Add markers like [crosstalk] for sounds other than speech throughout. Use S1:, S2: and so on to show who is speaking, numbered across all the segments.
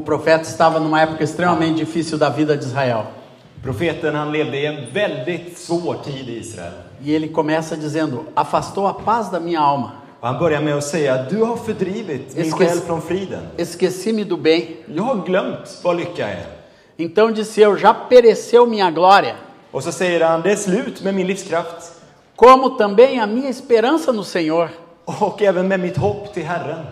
S1: profeta estava numa época extremamente difícil da vida de Israel.
S2: Profeten han levde i en väldigt svår tid i Israel.
S1: E ele começa dizendo: Afastou a paz da minha alma,
S2: Och han börjar med att säga, du har fördrivit min
S1: Esquece-
S2: själ från friden.
S1: esqueci-me do bem.
S2: Jag har glömt vad lycka är.
S1: Então disse eu: Já pereceu minha glória,
S2: Och så säger han, det är slut med min livskraft
S1: como também a minha esperança no Senhor.
S2: och även med mitt hopp till Herren.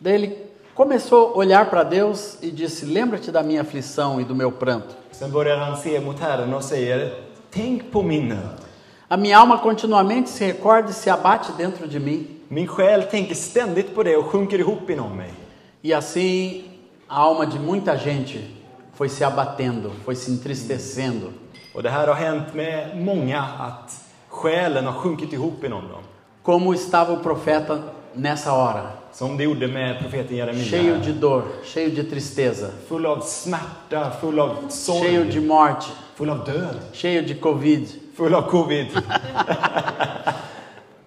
S1: Daí ele começou a olhar para Deus e disse: Lembra-te da minha aflição e do meu pranto.
S2: Sen börjar han se mot Herren och säger, tänk på min nöd.
S1: A minha alma continuamente se recorda e se abate dentro de mim.
S2: Min själ tänker ständigt på det och sjunker ihop inom mig.
S1: E assim a alma de muita gente foi se abatendo, foi se entristecendo.
S2: Och det här har hänt med många, att själen har sjunkit ihop inom dem.
S1: Como estava o profeta nessa hora?
S2: Som det gjorde med profeten Jeremia.
S1: Cheio de dor, cheio de tristeza,
S2: Full av smärta, full av
S1: cheio de
S2: sorg,
S1: morte,
S2: full av död,
S1: cheio de Covid.
S2: full av covid.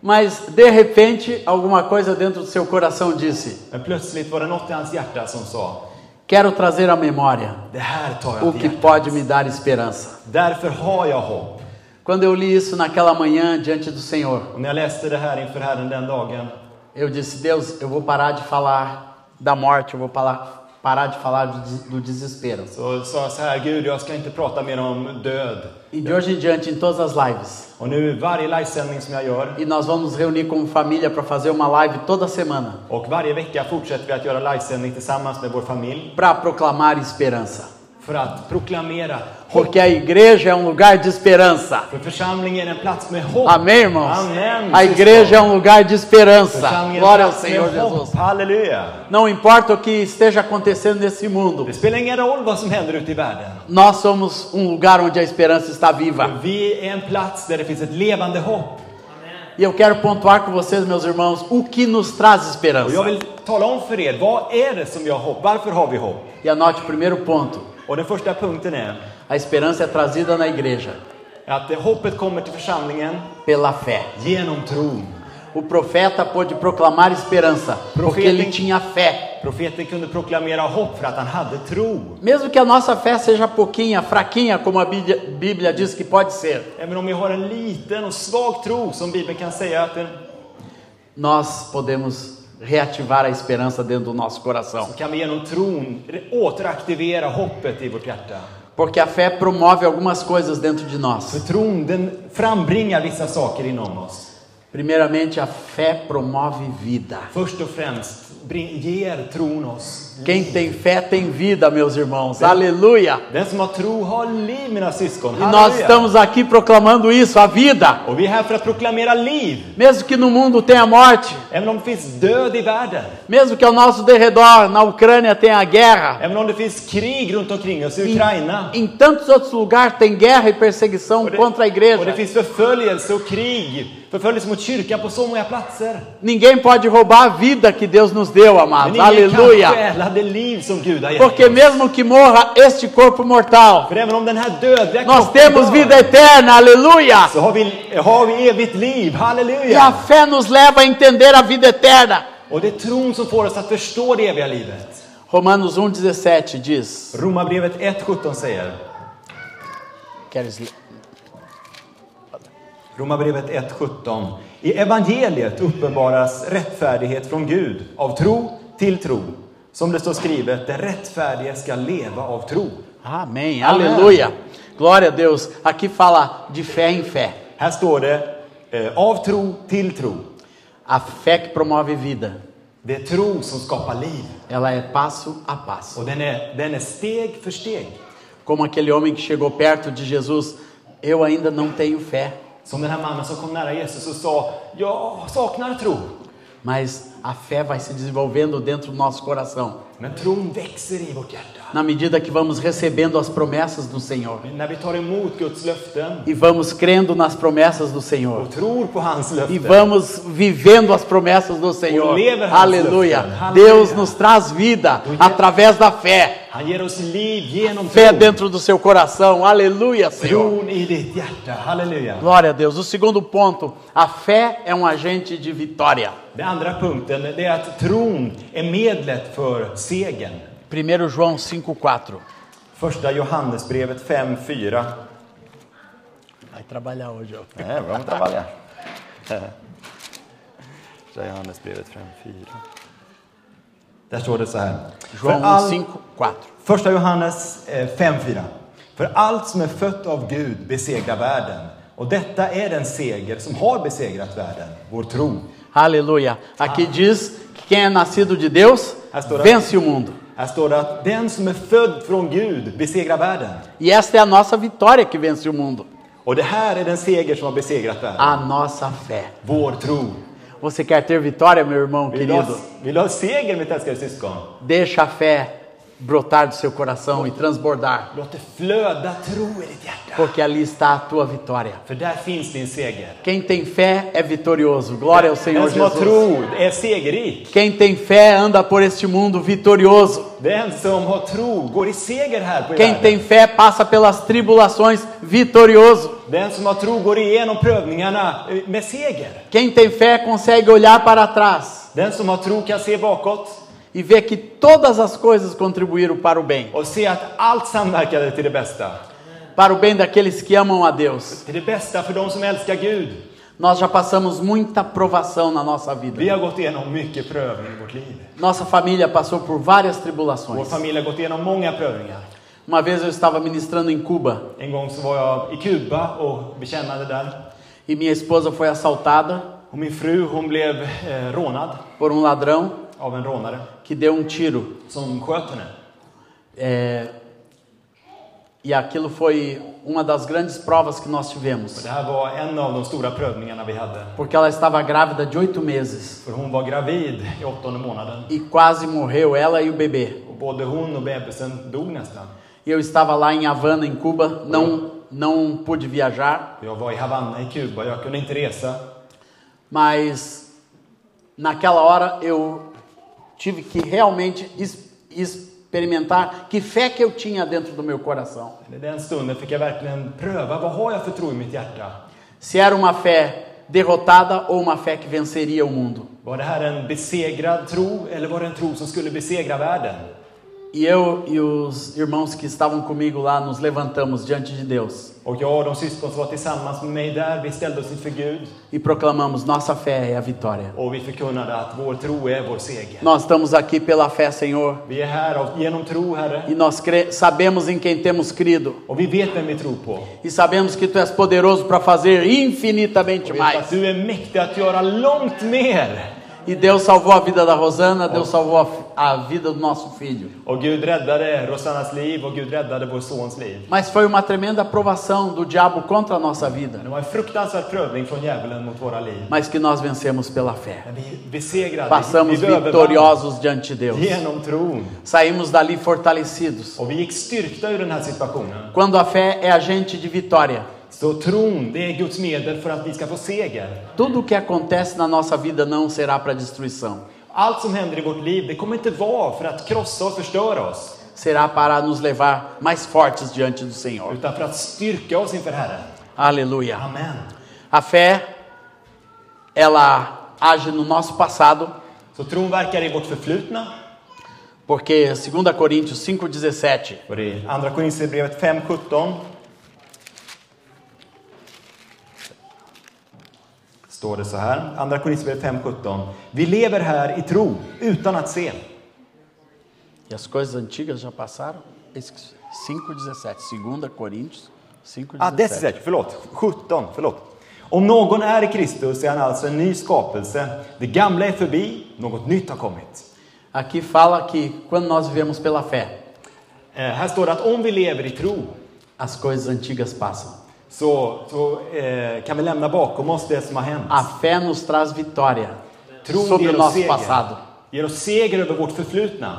S1: Mas de repente, alguma coisa dentro do seu coração disse:
S2: Men plötsligt var det något i hans hjärta som sa,
S1: Quero trazer à memória
S2: det här tar
S1: o
S2: jag till
S1: que
S2: hjärtat.
S1: pode me dar esperança.
S2: Därför har jag hopp.
S1: Quando eu li isso naquela manhã diante do Senhor,
S2: Och när jag läste det här inför Herren den dagen,
S1: Eu disse, Deus, eu vou parar de falar da morte, eu vou parar, parar de falar do, des- do desespero.
S2: så sa jag så här, Gud, jag ska inte prata mer om död.
S1: E de hoje em diante, em todas as lives.
S2: Och nu varje livesändning som jag gör,
S1: E nós vamos nos reunir como família para fazer uma live toda semana
S2: och varje vecka fortsätter vi att göra livesändning tillsammans med vår familj,
S1: para proclamar esperança.
S2: för att proklamera hopp.
S1: Porque a igreja é um lugar de esperança.
S2: För församlingen är en plats med hopp.
S1: Amém, irmãos?
S2: Amen,
S1: A igreja é um lugar de esperança.
S2: Församlingen är
S1: Glória
S2: en
S1: ao
S2: plats
S1: Senhor
S2: med
S1: Jesus.
S2: hopp. Halleluja!
S1: Não importa o que esteja acontecendo nesse mundo,
S2: Det spelar ingen roll vad som händer ute i världen.
S1: nós somos um lugar onde a esperança está viva.
S2: Vi är en plats där det finns ett levande hopp.
S1: E eu quero pontuar com vocês, meus irmãos, o que nos traz
S2: Och
S1: esperança.
S2: jag vill tala om för er, vad är det som jag har hopp? Varför har vi hopp?
S1: E anote o primeiro ponto:
S2: Och den första punkten är
S1: a esperança é trazida na igreja
S2: att det hoppet kommer till församlingen
S1: pela fé.
S2: genom tron.
S1: O profeta pôde proclamar esperança porque
S2: Profeta,
S1: ele
S2: hein?
S1: tinha fé.
S2: Profeten kunde proklamera hopp för att han hade tro.
S1: Mesmo que a nossa fé seja pouquinha, fraquinha, como a Bíblia, Bíblia diz que pode ser,
S2: Även om vi har en liten och svag tro, som Bibeln kan säga, att den,
S1: nós podemos reativar a esperança dentro do nosso coração.
S2: kan vi genom tron återaktivera hoppet i vårt hjärta.
S1: Porque a fé promove algumas coisas dentro de
S2: För
S1: nós.
S2: tron, den frambringar vissa saker inom oss.
S1: Primeiramente, a fé promove vida.
S2: Först och främst bring, ger tron oss.
S1: Quem tem fé tem vida, meus irmãos. Aleluia!
S2: Den som har tro har liv, mina syskon.
S1: E nós
S2: Halleluja!
S1: estamos aqui proclamando isso, a vida.
S2: Och vi är här för att proklamera liv.
S1: Mesmo que no mundo tenha morte,
S2: Även om det finns död i världen,
S1: mesmo que ao nosso derredor, na Ucrânia, tenha guerra,
S2: även om det finns krig runt omkring oss i
S1: em,
S2: Ukraina,
S1: em tantos outros lugares tem guerra e perseguição
S2: och det,
S1: contra a
S2: och det
S1: igreja.
S2: finns förföljelse och krig, förföljelse mot kyrkan på så många platser.
S1: Ninguém pode roubar a vida que Deus nos deu,
S2: Men
S1: amados.
S2: ingen kan
S1: Aleluia!
S2: stjäla det liv som Gud har gett
S1: Porque
S2: oss.
S1: mesmo que morra este corpo mortal,
S2: För även om den här dödliga
S1: nós
S2: kroppen
S1: temos
S2: dör,
S1: vida eterna. Aleluia!
S2: så har vi, har vi evigt liv,
S1: E a
S2: halleluja!
S1: fé nos leva a entender a vida eterna.
S2: Och det är tron som får oss att förstå det eviga livet.
S1: Romanos 1,17 diz:
S2: Romarbrevet 1.17 säger,
S1: Queres ler?
S2: Romarbrevet 1.17. I evangeliet uppenbaras rättfärdighet från Gud, av tro till tro. Som det står skrivet, den rättfärdige ska leva av tro.
S1: Amém,
S2: Amém.
S1: aleluia. Glória a Deus. Aqui fala de fé em fé.
S2: Här står det, eh, av tro till tro.
S1: A fé que promove vida,
S2: Det är tro som skapar liv.
S1: ela é passo a passo.
S2: Och den är, den är steg för steg.
S1: Como aquele homem que chegou perto de Jesus, eu ainda não tenho fé,
S2: Som den här mannen som kom nära Jesus och sa, jag saknar tro.
S1: mas a fé vai se desenvolvendo dentro do nosso coração,
S2: Men tron växer i vårt hjärta.
S1: na medida que vamos recebendo as promessas do Senhor
S2: Men när vi tar emot Guds löften
S1: e vamos crendo nas promessas do Senhor
S2: och tror på hans
S1: e
S2: löften.
S1: vamos vivendo as promessas do Senhor.
S2: Oliver Hans
S1: Aleluia.
S2: Lefter.
S1: Deus
S2: Aleluia.
S1: nos traz vida através da fé.
S2: Han ger oss liv genom
S1: Fé
S2: tron.
S1: dentro do seu coração. Aleluia, Senhor.
S2: Tron i ditt hjärta, halleluja.
S1: Glória a Deus. O segundo ponto, a fé é um agente de vitória.
S2: Den andra punkten det är att tron är medlet för segern.
S1: 1 João 5,4.
S2: Första Johannesbrevet 5.4.
S1: Vai trabalhar hoje, ó.
S2: Nej, bra med trabalhar. Första Johannesbrevet 5.4. Där står det så här. För
S1: João
S2: all,
S1: 5,4.
S2: första Johannes eh, 5.4. För allt som är fött av Gud besegrar världen. Och detta är den seger som har besegrat världen, vår tro.
S1: Aleluia. Aqui diz que quem é nascido de Deus
S2: Pastor-
S1: vence o mundo.
S2: Här står det att den som är född från Gud besegrar världen.
S1: E esta é a nossa vitória que vence o mundo.
S2: Och det här är den seger som har besegrat världen.
S1: A nossa fé.
S2: Vår tro.
S1: Você quer ter vitória, meu irmão
S2: Vill du, ha,
S1: querido?
S2: vill du ha seger, mitt älskade syskon?
S1: Deixa a fé brotar do seu coração e transbordar,
S2: Låt det flöda tro i ditt hjärta.
S1: porque ali está a tua vitória.
S2: För där finns din seger.
S1: Quem tem fé é vitorioso. Glória ao Senhor
S2: Den som har
S1: Jesus.
S2: tro är segerrik.
S1: Quem tem fé anda por este mundo vitorioso.
S2: Den som har tro går i seger här på
S1: Quem
S2: jorden.
S1: tem fé passa pelas tribulações vitorioso.
S2: Den som har tro går igenom prövningarna eh, med seger.
S1: Quem tem fé consegue olhar para trás
S2: Den som har tro kan se bakåt
S1: e ver que todas as coisas contribuíram para o bem,
S2: och se att allt samverkade till det bästa.
S1: para o bem daqueles que amam a Deus.
S2: Till det bästa för de som älskar Gud.
S1: Nós já passamos muita provação na nossa
S2: Vi
S1: vida.
S2: har gått igenom mycket prövning i vårt liv.
S1: Nossa família passou por várias
S2: Vår
S1: tribulações.
S2: familj har gått igenom många prövningar.
S1: Uma vez eu estava ministrando em Cuba
S2: En gång så var jag i Kuba och bekännade där.
S1: e minha esposa foi assaltada
S2: Och min fru hon blev eh, rånad
S1: por um ladrão
S2: av en rånare
S1: que deu um tiro.
S2: som sköt henne.
S1: É, E aquilo foi uma das grandes provas que nós
S2: Och
S1: tivemos,
S2: Det här var en av de stora prövningarna vi hade.
S1: porque ela estava grávida de oito meses
S2: För hon var gravid i åttonde månaden.
S1: e quase morreu ela e o bebê.
S2: Och både hon och bebisen dog nästan.
S1: E Eu estava lá em Havana, em Cuba, não, não pude viajar,
S2: Jag var i Havanna i Kuba, jag kunde inte resa.
S1: mas naquela hora eu tive que realmente es- experimentar que fé que eu tinha dentro do meu coração.
S2: I den stunden fick jag verkligen pröva, vad har jag för tro i mitt hjärta?
S1: Se era uma fé derrotada ou uma fé que venceria o mundo.
S2: Var det här en besegrad tro eller var det en tro som skulle besegra världen?
S1: E eu e os irmãos que estavam comigo lá nos levantamos diante de Deus
S2: Och jag och de syskon som var tillsammans med mig där, vi ställde oss inför Gud
S1: e proclamamos: nossa fé é a vitória.
S2: och vi förkunnade att vår tro är vår seger.
S1: Nós estamos aqui pela fé, Senhor,
S2: Vi är här av, genom tro, Herre.
S1: e nós cre- sabemos em quem temos crido.
S2: Och vi vet vem vi tror på.
S1: E sabemos que tu és poderoso para fazer infinitamente
S2: Vi vet att
S1: mais.
S2: du är mäktig att göra långt mer.
S1: E Deus salvou a vida da Rosana, Deus salvou a, fi- a vida do nosso filho.
S2: Och Gud räddade Rosannas liv och Gud räddade vår sons liv.
S1: Mas foi uma tremenda aprovação do diabo contra a nossa
S2: Det
S1: vida,
S2: var en fruktansvärd prövning från djävulen mot våra liv.
S1: mas que nós vencemos pela fé.
S2: Men vi besegrade,
S1: Passamos
S2: vi övervann
S1: vitoriosos diante de Deus.
S2: genom tron.
S1: Saímos dali fortalecidos.
S2: Och vi gick styrkta ur den här situationen.
S1: Quando a fé é agente de vitória,
S2: Så tron, det är Guds medel för att vi ska få seger.
S1: tudo o que acontece na nossa vida não será para destruição,
S2: Allt som händer i vårt liv, det kommer inte vara för att krossa och förstöra oss.
S1: será para nos levar mais fortes diante do Senhor.
S2: Utan för att styrka oss inför Herren.
S1: Aleluia.
S2: Amen.
S1: A fé, ela age no nosso passado,
S2: Så tron verkar i vårt förflutna.
S1: porque 2 Coríntios 5,17,
S2: Och det är Andra Korinthierbrevet 5.17. Står det så här. Andra Korinthierbrevet 5.17. Vi lever här i tro, utan att se.
S1: e as coisas antigas já passaram, Esque- 5,17, 2 Coríntios
S2: Ah, det är
S1: 5,17.
S2: rätt. Förlåt. 17. Förlåt. Om någon är i Kristus är han alltså en ny skapelse. Det gamla är förbi, något nytt har kommit.
S1: Aqui fala que quando nós vivemos pela fé,
S2: Eh, här står det att om vi lever i tro
S1: as coisas antigas passam.
S2: så, så eh, kan vi lämna bakom oss det som har hänt.
S1: A fé nos traz vitória
S2: Tron
S1: sobre o
S2: ger oss
S1: nosso
S2: seger.
S1: passado.
S2: Ger oss seger över vårt förflutna.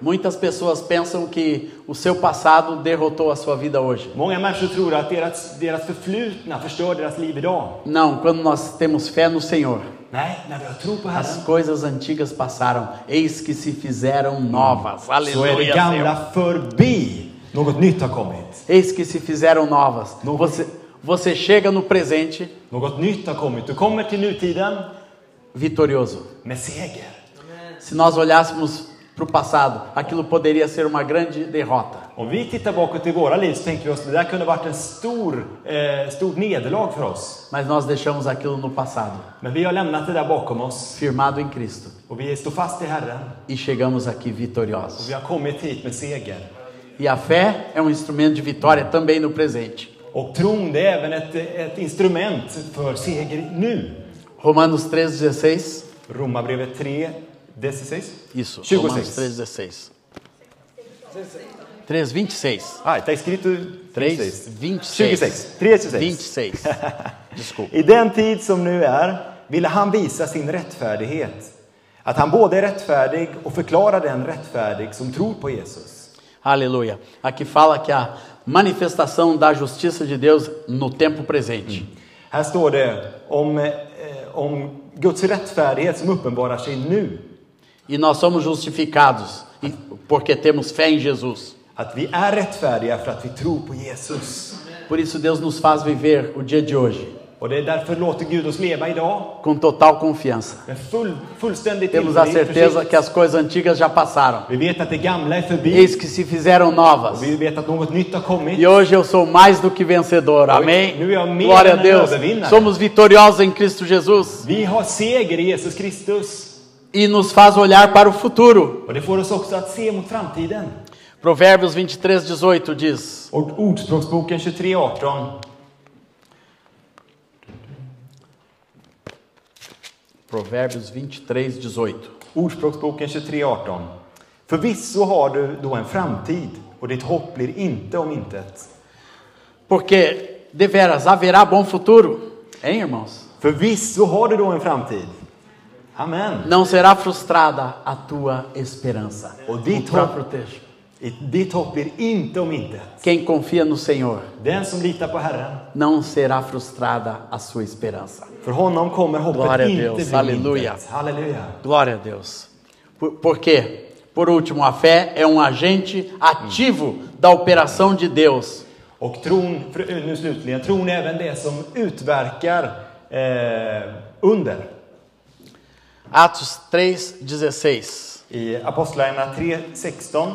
S1: Muitas pessoas pensam que o seu passado derrotou a sua vida hoje.
S2: Många människor tror att deras, deras förflutna förstör deras liv idag.
S1: Não, quando nós temos fé no Senhor,
S2: Nej, när vi har tro på
S1: As
S2: Herren
S1: coisas antigas passaram, eis que se fizeram novas.
S2: så är det
S1: Aleluia, Senhor.
S2: gamla förbi. Något nytt har kommit.
S1: Eis que se fizeram novas.
S2: No-
S1: Você, você chega no presente
S2: Något nytt har kommit. Du kommer till nutiden
S1: vitorioso.
S2: med seger.
S1: Se nós olhássemos para o passado. Aquilo poderia ser uma grande derrota.
S2: Om vi tittar bakåt i våra liv så tänker vi oss det där kunde varit en stor, eh, stort nederlag för oss.
S1: Mas nós deixamos aquilo no passado,
S2: Men vi har lämnat det där bakom oss
S1: firmado em Cristo,
S2: och vi står fast i Herren.
S1: e chegamos aqui
S2: Och
S1: vitoriosos.
S2: vi har kommit hit med seger.
S1: E a fé é um instrumento de vitória também no presente.
S2: Och tron det är även ett, ett instrument för seger nu.
S1: Romanos 3,16.
S2: Romarbrevet 3, Decisis.
S1: Isso,
S2: 26.
S1: Romanos 3,16. 3,26.
S2: Ah, está escrito
S1: 3,
S2: 26. 3, 26.
S1: [laughs] 26. Desculpa.
S2: I den tid som nu är ville han visa sin rättfärdighet. Att han både är rättfärdig och förklarar den rättfärdig som tror på Jesus.
S1: Aleluia. Aqui fala que a manifestação da justiça de Deus no tempo presente.
S2: Här står det om, eh, om Guds rättfärdighet som uppenbarar sig nu.
S1: E nós somos justificados e- porque temos fé em Jesus.
S2: Att vi är rättfärdiga för att vi tror på Jesus.
S1: Por isso Deus nos faz viver o dia de hoje
S2: Och det är därför låter Gud oss leva idag
S1: com total confiança.
S2: med full, fullständig
S1: Temos a
S2: tillförsikt.
S1: certeza que as coisas antigas já passaram.
S2: Vi vet att det gamla är förbi.
S1: Eis que se fizeram novas.
S2: Vi vet att något nytt har kommit.
S1: E hoje eu sou mais do que vencedor. Amém?
S2: Nu är jag mer
S1: Glória a
S2: än en
S1: Deus.
S2: övervinnare.
S1: Somos vitoriosos em Cristo Jesus.
S2: Vi har seger i Jesus Kristus.
S1: E nos faz olhar para o futuro.
S2: Och det får oss också att se mot framtiden.
S1: Provérbios 23, 18 diz.
S2: Och Ordspråksboken 23.18.
S1: Provérbios 23, 18.
S2: Ordspråksboken 23.18. Förvisso har du då en framtid och ditt hopp blir inte om intet.
S1: Porque deveras haverá bom futuro, hein, irmãos?
S2: Förvisso har du då en framtid. Amen.
S1: Não será frustrada a tua esperança.
S2: O dito-
S1: próprio texto.
S2: I- Ditt hopp blir inte om intet.
S1: Quem confia no Senhor
S2: Den som litar på Herren,
S1: não será frustrada a sua esperança.
S2: för honom kommer hoppet
S1: Glória a
S2: inte
S1: Deus.
S2: bli om
S1: Halleluja.
S2: intet. Halleluja.
S1: Glória a Deus. Por, por quê? Por último, a fé é um agente ativo da operação de Deus.
S2: Och tron, för- nu slutligen, tron är även det som utverkar eh, under.
S1: Atos 3, 16.
S2: I Apostlagärningarna 3.16.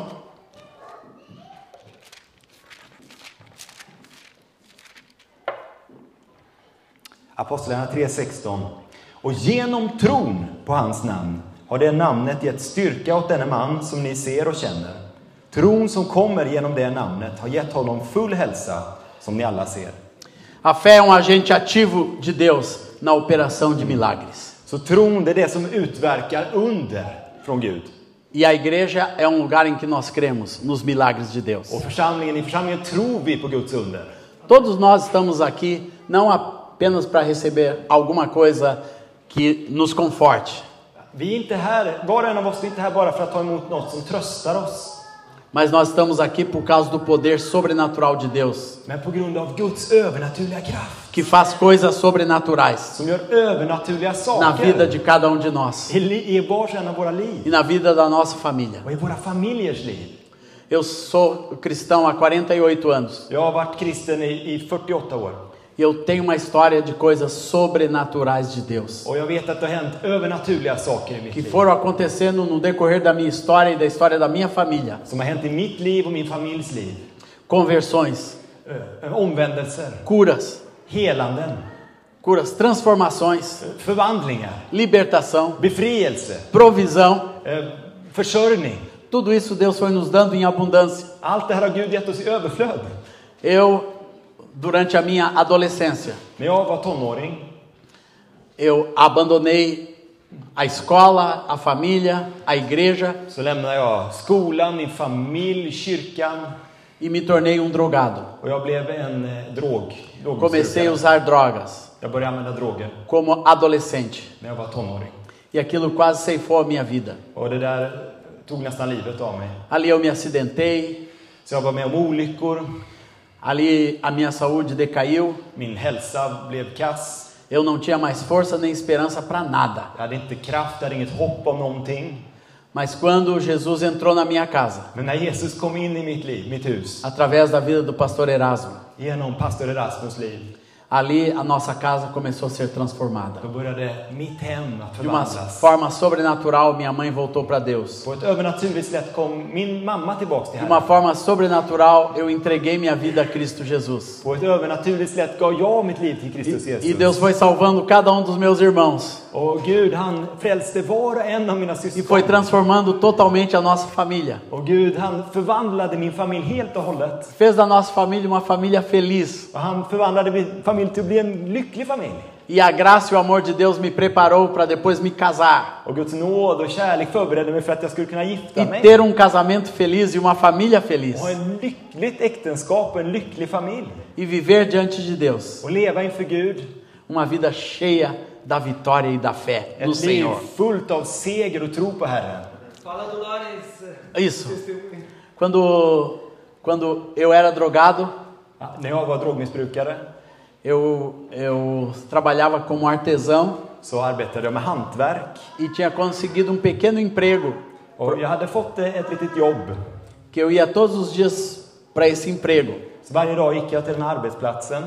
S2: Apostlagärningarna 3.16. Och genom tron på hans namn har det namnet gett styrka åt denne man som ni ser och känner. Tron som kommer genom det namnet har gett honom full hälsa, som ni alla ser.
S1: A fé é um agente ativo de Deus na operação de milagres.
S2: Så tron, det är det som utverkar under från Gud.
S1: E a igreja é um lugar em que nós cremos nos milagres de Deus.
S2: Och församlingen, i församlingen tror vi på Guds under.
S1: Todos nós estamos aqui não apenas para receber alguma coisa que nos conforte,
S2: Vi är inte här, var och en av oss är inte här bara för att ta emot något som tröstar oss.
S1: mas nós estamos aqui por causa do poder sobrenatural de Deus,
S2: Men på grund av Guds övernaturliga kraft.
S1: que faz coisas sobrenaturais
S2: Som gör övernaturliga
S1: na vida
S2: saker.
S1: de cada um de nós
S2: I, li- i vars och en av våra liv.
S1: e na vida da nossa família.
S2: Och i våra familjers liv.
S1: Eu sou cristão há 48 anos
S2: Jag har varit kristen i, i 48 år.
S1: e eu tenho uma história de coisas sobrenaturais de Deus.
S2: Och jag vet att det har hänt övernaturliga saker i mitt
S1: Que
S2: liv.
S1: foram acontecendo no decorrer da minha história e da história da minha família.
S2: Som har hänt i mitt liv och min familjs liv.
S1: conversões,
S2: Ö- Omvändelser.
S1: curas,
S2: Helanden.
S1: curas, transformações,
S2: Förvandlingar.
S1: libertação,
S2: Befrielse.
S1: provisão.
S2: eh, Försörjning.
S1: Tudo isso Deus foi nos dando em abundância.
S2: Allt det här har Gud gett oss i överflöd.
S1: Eu, durante a minha adolescência,
S2: När jag var tonåring
S1: eu abandonei a escola, a família, a igreja
S2: Så lämnade jag skolan, min familj, kyrkan
S1: e me tornei um drogado.
S2: och jag blev en eh, drog.
S1: Comecei a
S2: drogmissbrukare.
S1: usar drogas
S2: Jag började använda droger
S1: como adolescente
S2: när jag var tonåring.
S1: e aquilo quase ceifou a minha vida.
S2: Och det där tog nästan livet av mig.
S1: Ali eu me acidentei,
S2: Så jag var med om olyckor,
S1: ali a minha saúde decaiu,
S2: min hälsa blev kass,
S1: eu não tinha mais força nem esperança para nada.
S2: jag hade inte kraft, jag hade inget hopp om någonting.
S1: Mas quando Jesus entrou na minha casa,
S2: Men när Jesus kom in i mitt liv, mitt hus,
S1: através da vida do pastor Erasmo,
S2: genom pastor Erasmus liv,
S1: ali a nossa casa começou a ser transformada.
S2: Då började mitt hem att
S1: De uma
S2: förvandlas.
S1: forma sobrenatural, minha mãe voltou para Deus.
S2: På ett övernaturligt sätt kom min mamma tillbaks till
S1: De uma
S2: Herren.
S1: forma sobrenatural, eu entreguei minha vida a Cristo Jesus.
S2: På ett övernaturligt sätt gav jag mitt liv till Kristus
S1: E, e
S2: Jesus.
S1: Deus foi salvando cada um dos meus irmãos
S2: Och Gud han frälste var och en av mina
S1: e foi
S2: syskon.
S1: transformando totalmente a nossa família.
S2: Och Gud han förvandlade min familj helt och hållet.
S1: Fez da nossa família uma família feliz.
S2: Och han förvandlade min familj till att bli en lycklig familj.
S1: E a graça e o amor de Deus me preparou para depois me casar
S2: Och Guds nåd och kärlek förberedde mig för att jag skulle kunna gifta
S1: e
S2: mig.
S1: ter um casamento feliz e uma família feliz
S2: Och ha ett lyckligt äktenskap och en lycklig familj.
S1: e viver diante de Deus
S2: Och leva inför Gud.
S1: uma vida cheia da vitória e da fé no
S2: Ett liv
S1: Senhor.
S2: fullt av seger och tro på Herren.
S3: Fala, Dolores.
S1: Isso.
S3: Testemunha.
S1: Quando quando eu era drogado,
S2: Ja, när jag var drogmissbrukare
S1: eu eu trabalhava como artesão
S2: så arbetade jag med hantverk.
S1: e tinha conseguido um pequeno emprego
S2: Och jag hade fått eh, ett litet jobb.
S1: que eu ia todos os dias para esse emprego.
S2: Så varje dag gick jag till den här arbetsplatsen.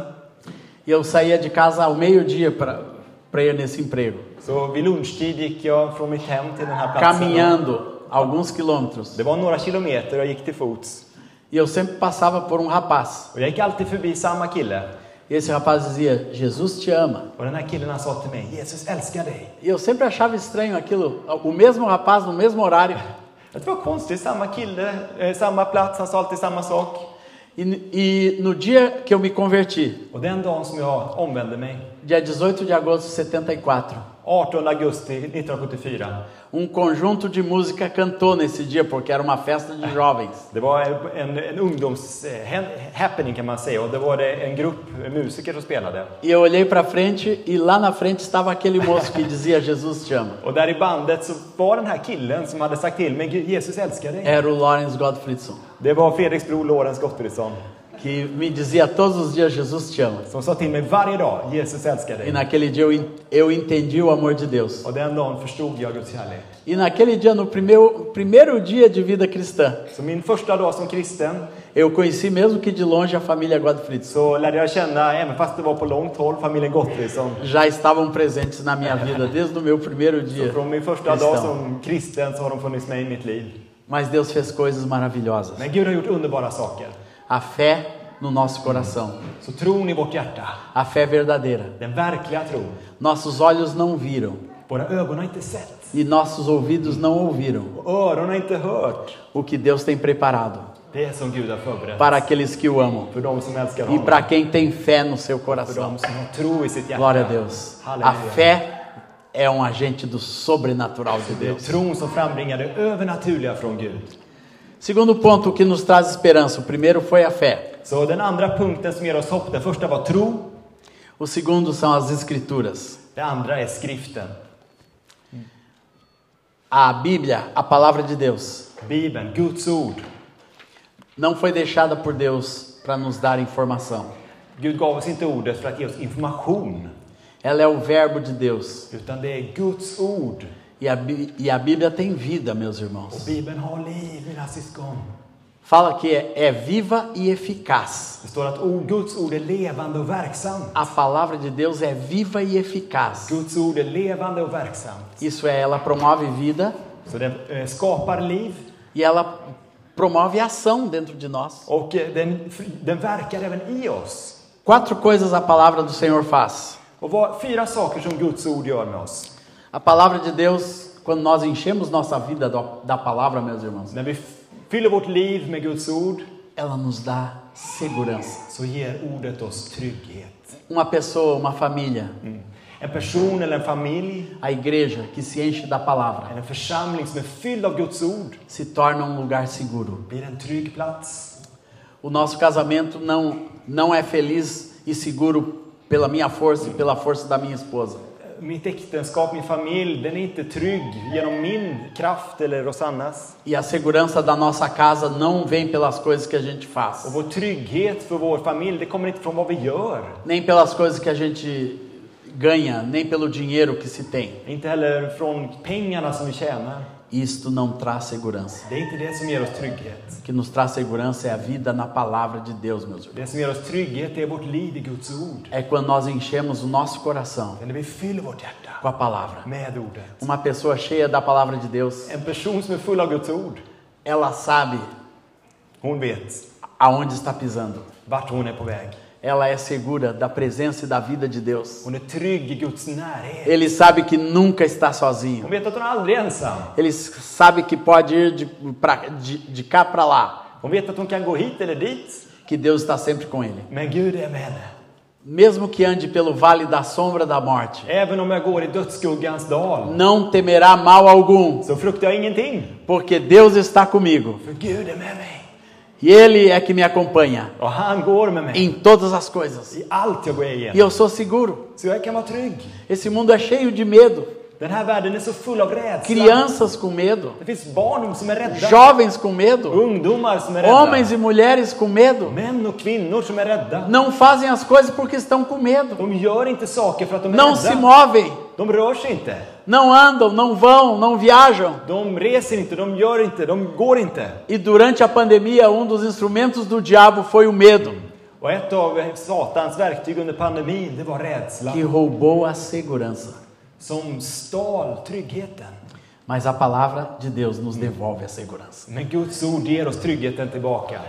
S1: E eu saía de casa ao meio-dia para para ir nesse emprego,
S2: Så vid lunchtid gick jag från mitt hem till den här platsen.
S1: caminhando alguns quilômetros.
S2: Det var några kilometer och jag gick till fots.
S1: E eu sempre passava por um rapaz.
S2: Och jag gick alltid förbi samma kille.
S1: E esse rapaz dizia: Jesus te ama.
S2: Och den här killen han sa till mig, Jesus älskar dig.
S1: E eu sempre achava estranho aquilo, o mesmo rapaz no mesmo horário.
S2: Det var konstigt, samma kille, eh, samma plats, han sa alltid samma sak.
S1: E, e no dia que eu me converti,
S2: Och den dagen som jag omvände mig,
S1: dia 18 de agosto de 74,
S2: 18 augusti 1974.
S1: um conjunto de música cantou nesse dia, porque era uma festa de jovens.
S2: Det var en, en ungdoms-happening kan man säga och det var det en grupp musiker som spelade.
S1: E eu olhei para frente e lá na frente estava aquele moço que dizia: Jesus te ama.
S2: Och där i bandet så var den här killen som hade sagt till mig, "Gud, Jesus älskar dig.
S1: Era o Lawrence Gottfriedson,
S2: Det var Fredriks bror Lorentz Gottfridsson
S1: que me dizia todos os dias: Jesus te ama.
S2: som sa till mig varje dag, Jesus älskar
S1: E
S2: dig.
S1: naquele dia eu, en- eu entendi o amor de Deus.
S2: Och den dagen förstod jag Guds kärlek.
S1: E naquele dia, no primeiro, primeiro dia de vida cristã,
S2: Så min första dag som kristen
S1: eu conheci mesmo que de longe a família Godfriedson.
S2: så lärde jag känna, även fast det var på långt håll, familjen Gottfridsson.
S1: Já estavam presentes na minha vida desde o meu primeiro
S2: Så
S1: dia.
S2: från min första dag
S1: cristão.
S2: som kristen så har de funnits med i mitt liv.
S1: Mas Deus fez coisas maravilhosas.
S2: Men Gud har gjort underbara saker.
S1: A fé no nosso coração,
S2: Så tron i vårt hjärta,
S1: a fé verdadeira.
S2: den verkliga tron,
S1: Nossos olhos não viram
S2: våra ögon har inte sett
S1: e nossos ouvidos não ouviram
S2: och öron har inte hört
S1: o que Deus tem preparado
S2: det som Gud har förberett
S1: para aqueles que o amam
S2: för de som älskar
S1: e
S2: honom,
S1: para quem tem fé no seu
S2: för
S1: coração.
S2: de som har tro i sitt hjärta.
S1: Glória a Deus. A
S2: Halleluja.
S1: fé é um agente do sobrenatural de
S2: Det är
S1: Deus.
S2: tron som frambringar det övernaturliga från Gud.
S1: Segundo ponto que nos traz esperança. O primeiro foi a fé.
S2: Så den andra punkten som ger oss hopp, den första var tro,
S1: O segundo são as escrituras.
S2: den andra är skriften.
S1: A Bíblia, a palavra de Deus,
S2: Bibeln, Guds ord.
S1: não foi deixada por Deus para nos dar informação.
S2: Gud gav oss inte ordet för att ge oss information,
S1: Ela é o verbo de Deus.
S2: utan det är Guds ord.
S1: E a, Bí- e a Bíblia tem vida, meus
S2: Och
S1: irmãos.
S2: Bibeln har liv, mina syskon.
S1: Fala que é, é viva e eficaz.
S2: Det står att ord, Guds ord är levande och verksamt.
S1: A palavra de Deus é viva e eficaz.
S2: Guds ord är levande och verksamt.
S1: Isso é, ela promove vida
S2: Så den eh, skapar liv
S1: e ela promove ação dentro de nós.
S2: och eh, den, den verkar även i oss.
S1: Quatro coisas a palavra do Senhor faz.
S2: Och vad, fyra saker som Guds ord gör med oss.
S1: A palavra de Deus, quando nós enchemos nossa vida do- da palavra, meus irmãos,
S2: När vi f- fyller vårt liv med Guds ord
S1: ela nos dá segurança.
S2: så ger ordet oss trygghet.
S1: Uma pessoa, uma família,
S2: En person eller en familj
S1: a igreja que se enche da palavra
S2: eller en församling som är fylld av Guds ord
S1: se torna um lugar seguro.
S2: blir en trygg plats.
S1: O nosso casamento não, não é feliz e seguro pela minha força e pela força da minha esposa.
S2: Eh, Mitt äktenskap, min familj, den är inte trygg genom min kraft eller Rosannas.
S1: E a segurança da nossa casa não vem pelas coisas que a gente
S2: Och
S1: faz,
S2: vår trygghet för vår familj, det kommer inte från vad vi gör.
S1: nem pelas coisas que a gente ganha, nem pelo dinheiro que se tem.
S2: Inte heller från pengarna som vi tjänar.
S1: Isto não traz segurança.
S2: Det är inte det som ger oss trygghet.
S1: O que nos traz segurança é a vida na palavra de Deus, meus irmãos.
S2: Det som ger oss trygghet är vårt liv i Guds ord.
S1: É quando nós enchemos o nosso coração
S2: När vi fyller vårt hjärta
S1: com a palavra.
S2: med ordet.
S1: Uma pessoa cheia da palavra de Deus,
S2: En person som är full av Guds ord,
S1: ela sabe
S2: hon vet
S1: aonde está pisando.
S2: vart hon är på väg.
S1: Ela é segura da presença e da vida de Deus.
S2: Hon är trygg i Guds närhet.
S1: Ele sabe que nunca está sozinho.
S2: Hon vet att hon aldrig är ensam.
S1: Ele sabe que pode ir de, pra- de- de cá para lá,
S2: Hon vet att hon kan gå hit eller dit.
S1: que Deus está sempre com ele.
S2: Men Gud är med henne.
S1: Mesmo que ande pelo vale da sombra da morte,
S2: Även om jag går i dödsskuggans dal
S1: não temerá mal algum,
S2: så fruktar jag ingenting.
S1: porque Deus está comigo
S2: För Gud är med mig.
S1: e Ele é que me acompanha
S2: Och han går med mig.
S1: em todas as coisas.
S2: I allt jag går
S1: E
S2: igenom.
S1: eu sou seguro.
S2: Så jag kan vara trygg.
S1: Esse mundo é cheio de medo.
S2: Den här världen är så full av rädsla.
S1: Crianças com medo,
S2: Det finns barn som är rädda.
S1: jovens com medo,
S2: Ungdomar som är
S1: homens
S2: rädda.
S1: e mulheres com medo.
S2: Män och kvinnor som är rädda.
S1: Não fazem as coisas porque estão com medo.
S2: De gör inte saker för att de är
S1: Não se
S2: rädda.
S1: movem,
S2: De rör sig inte.
S1: não andam, não vão, não viajam.
S2: De reser inte. De gör inte. De går inte.
S1: E durante a pandemia, um dos instrumentos do diabo foi o medo,
S2: Och ett av Satans verktyg under pandemin, det var rädsla.
S1: que roubou a segurança.
S2: som stal tryggheten.
S1: Mas a palavra de Deus nos devolve a segurança.
S2: Men Guds ord ger oss tryggheten tillbaka.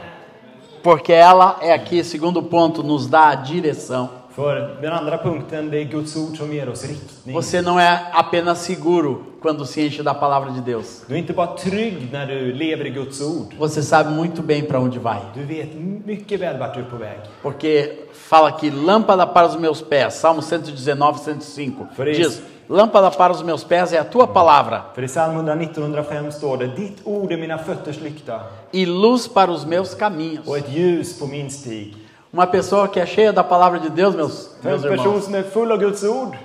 S1: Porque ela é aqui, segundo ponto, nos dá a direção.
S2: För den andra punkten, det är Guds ord som ger oss riktning.
S1: Você não é apenas seguro quando se enche da palavra de Deus.
S2: Du är inte bara trygg när du lever i Guds ord.
S1: Você sabe muito bem para onde vai.
S2: Du vet mycket väl vart du är på väg.
S1: Porque fala que lâmpada para os meus pés, Salmo 119, 105.
S2: Por isso.
S1: Diz: Lâmpada para os meus pés é a tua palavra
S2: För i psalm 119 105 står det Ditt ord är mina fötters lykta
S1: e luz para os meus caminhos.
S2: och ett ljus på min stig.
S1: Uma pessoa que é cheia da palavra de Deus, meus,
S2: För en
S1: meus
S2: person
S1: irmãos,
S2: som är full av Guds ord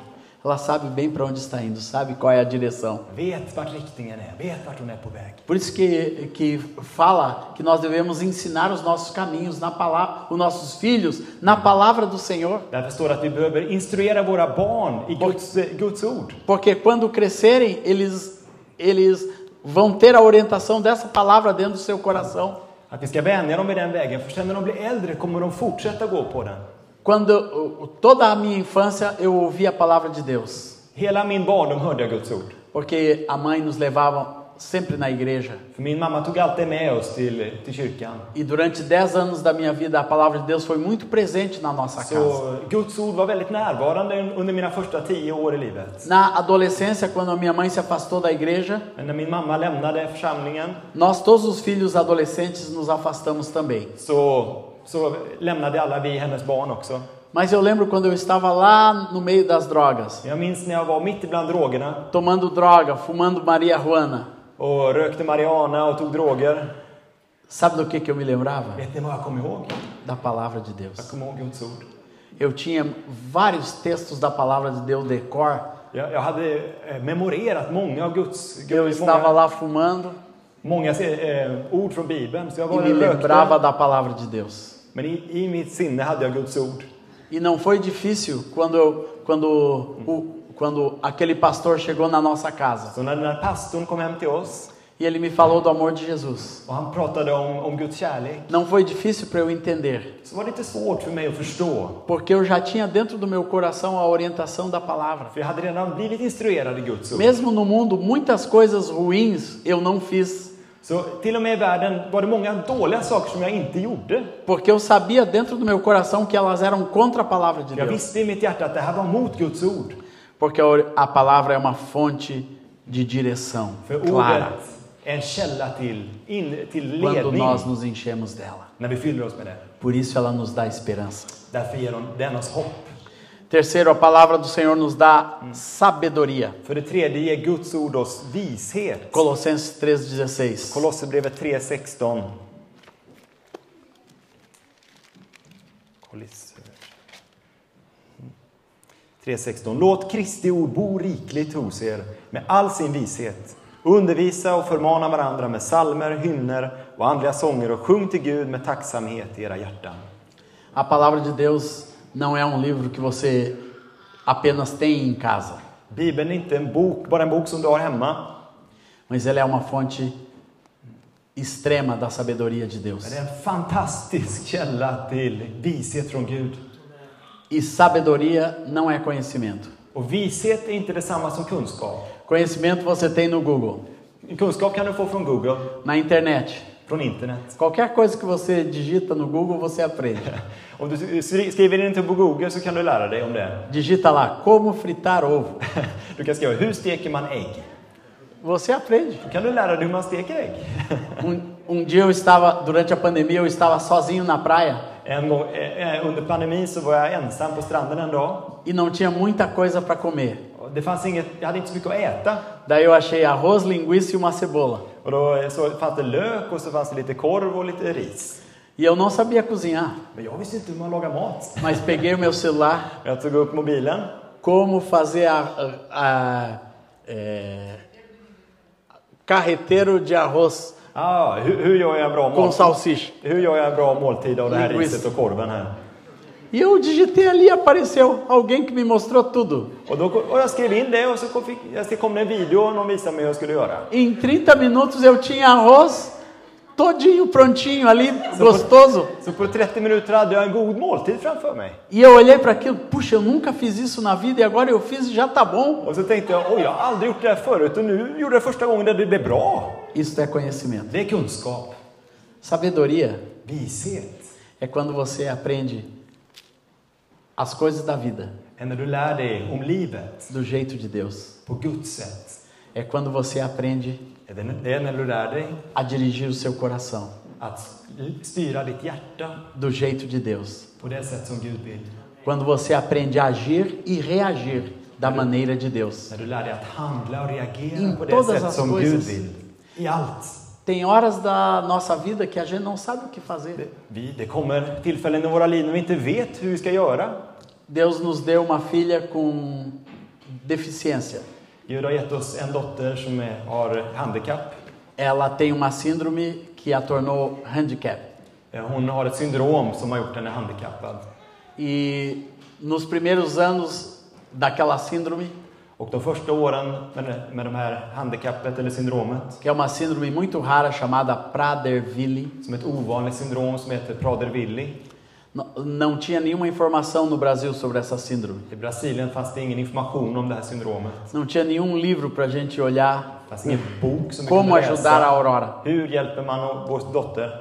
S1: ela sabe bem para onde está indo, sabe qual é a direção.
S2: vet vart riktningen är, vet vart hon är på väg.
S1: Por isso que, que fala que nós devemos ensinar os nossos caminhos na palavra, os nossos filhos na palavra do Senhor,
S2: Därför står det att vi behöver instruera våra barn i Guds, eh, Guds ord.
S1: porque quando crescerem, eles eles vão ter a orientação dessa palavra dentro do seu coração.
S2: Att vi ska vänja dem vid den vägen, för sen när de blir äldre kommer de fortsätta gå på den.
S1: Quando o- o- toda a minha infância eu ouvi a palavra de Deus,
S2: Hela min barndom hörde jag Guds ord.
S1: porque a mãe nos levava sempre na igreja.
S2: För min mamma tog alltid med oss till, till kyrkan.
S1: E durante 10 anos da minha vida, a palavra de Deus foi muito presente na nossa casa.
S2: Så Guds ord var väldigt närvarande under mina första tio år i livet.
S1: Na adolescência, quando a minha mãe se afastou da igreja,
S2: Men när min mamma lämnade församlingen
S1: nós, todos os filhos adolescentes, nos afastamos também.
S2: så, så lämnade alla vi hennes barn också.
S1: Mas eu lembro quando eu estava lá no meio das drogas,
S2: Jag minns när jag var mitt ibland drogerna
S1: tomando droga, fumando marihuana.
S2: och rökte marijuana och tog droger.
S1: Sabe do que, que eu me lembrava?
S2: Vet ni vad jag kom ihåg?
S1: Da palavra de Deus.
S2: Jag kom ihåg Guds ord.
S1: Eu tinha vários textos da palavra de Deus de cor.
S2: Jag, jag hade eh, memorerat många av Guds...
S1: Eu
S2: Guds-
S1: estava lá fumando
S2: många eh, ord från Bibeln. Så jag
S1: e
S2: var
S1: me
S2: en
S1: lembrava
S2: rökte,
S1: da palavra de Deus.
S2: men i, i mitt sinne hade jag Guds ord.
S1: E não foi difícil quando, eu- quando, o, quando aquele pastor chegou na nossa casa
S2: Så när den här pastorn kom hem till oss
S1: e ele me falou do amor de Jesus.
S2: och han pratade om, om Guds kärlek
S1: Não foi difícil para eu entender,
S2: så var det lite svårt för mig att förstå.
S1: porque eu já tinha dentro do meu coração a orientação da palavra.
S2: För jag hade redan blivit instruerad i Guds ord.
S1: Mesmo no mundo, muitas coisas ruins eu não fiz,
S2: Så till och med i världen var det många dåliga saker som jag inte gjorde.
S1: porque eu sabia dentro do meu coração que elas eram contra a palavra de
S2: Jag
S1: Deus.
S2: visste i mitt hjärta att det här var mot Guds ord.
S1: Porque a or- a palavra é uma fonte de direção
S2: För
S1: clara
S2: ordet är en källa till, in, till
S1: quando
S2: ledning
S1: nós nos enchemos dela.
S2: när vi fyller oss med det.
S1: Por isso ela nos dá esperança.
S2: Därför ger hon- den oss hopp.
S1: Terceiro, a palavra do Senhor nos dá sabedoria.
S2: För det tredje ger Guds ord oss vishet.
S1: Colossenses 3,16.
S2: Kolosserbrevet 3.16. Kolosser. 3.16. Låt Kristi ord bo rikligt hos er med all sin vishet. Undervisa och förmana varandra med psalmer, hymner och andliga sånger och sjung till Gud med tacksamhet i era hjärtan.
S1: A palavra de Deus não é um livro que você apenas tem em casa.
S2: Bibeln är inte en bok, bara en bok som du har hemma.
S1: Mas ele é uma fonte extrema da sabedoria de Deus.
S2: Det är en fantastisk källa till vishet från Gud.
S1: E sabedoria não é conhecimento.
S2: Och vishet är inte detsamma som kunskap.
S1: Conhecimento você tem no Google,
S2: Kunskap kan du få från Google,
S1: na internet.
S2: från internet.
S1: Qualquer coisa que você digita no Google, você aprende.
S2: Om du skri- skriver in det på Google så kan du lära dig om det. [laughs]
S1: Digita lá como fritar ovo.
S2: Du kan skriva hur steker man ägg?
S1: Você aprende.
S2: Då kan du lära dig hur man steker ägg.
S1: Um, um dia eu estava, durante a pandemia, eu estava sozinho na praia
S2: En gång, eh, eh, under pandemin så var jag ensam på stranden en dag.
S1: e não tinha muita coisa para comer.
S2: Och Det fanns inget, jag hade inte så mycket att äta.
S1: Daí eu achei arroz, linguiça e uma cebola.
S2: Och då eh, så fanns det lök och så fanns det lite korv och lite ris.
S1: E eu não sabia cozinhar,
S2: Men jag visste inte hur man lagar mat.
S1: mas peguei o meu celular,
S2: Jag tog upp mobilen.
S1: como fazer a, a- a- é, carreteiro de arroz
S2: Ah, hur, hur gör jag en bra
S1: com
S2: mat?
S1: salsicha.
S2: Hur gör jag en bra måltid av det här
S1: Linguist.
S2: riset och korven här?
S1: E eu digitei ali e apareceu alguém que me mostrou tudo.
S2: Och, då, och jag skrev in det och så kom, fick, jag skrev- kom det en video och någon visade mig hur jag skulle göra.
S1: Em 30 minutos eu tinha arroz todinho prontinho ali, gostoso.
S2: Så på 30 minuter hade jag en god måltid framför mig.
S1: E eu olhei para aquilo, puxa, eu nunca fiz isso na vida e agora eu fiz e já tá bom.
S2: Och så tänkte jag, oj jag har aldrig gjort det här förut och nu gjorde jag första gången där det blev bra.
S1: Isso é conhecimento.
S2: Det är kunskap.
S1: Sabedoria
S2: Vishet.
S1: é quando você aprende as coisas da vida
S2: Är när du lär dig om livet
S1: do jeito de Deus.
S2: på Guds sätt.
S1: É quando você aprende
S2: Är Det det är när du lär dig
S1: a dirigir o seu coração
S2: att styra ditt hjärta
S1: do jeito de Deus.
S2: på det sätt som Gud vill.
S1: Quando você aprende a agir e reagir da maneira de Deus.
S2: När du lär dig att handla och reagera
S1: Mm,
S2: på det
S1: todas
S2: sätt
S1: las
S2: som
S1: cosas.
S2: Gud vill. I allt.
S1: Tem horas da nossa vida que a gente não sabe o que
S2: Det,
S1: fazer.
S2: vi, det kommer tillfällen i våra liv när vi inte vet hur vi ska göra.
S1: Deus nos deu uma filha com deficiência.
S2: Gud har gett oss en dotter som är, har handikapp.
S1: Ela tem uma síndrome que a tornou handicap.
S2: Eh, Hon har ett syndrom som har gjort henne handikappad.
S1: E nos primeiros anos daquela síndrome,
S2: Och de första åren med, det- med det här handikappet eller syndromet,
S1: que é uma síndrome muito rara chamada Prader-Willi,
S2: som ett ovanligt syndrom som heter Prader-Willi.
S1: n- não tinha nenhuma informação no Brasil sobre essa síndrome.
S2: I Brasilien fanns det ingen information om det här syndromet.
S1: Não tinha nenhum livro para a gente olhar
S2: Det fanns ingen bok som vi
S1: como
S2: kunde
S1: ajudar a
S2: läsa.
S1: Aurora.
S2: Hur hjälper man vår dotter?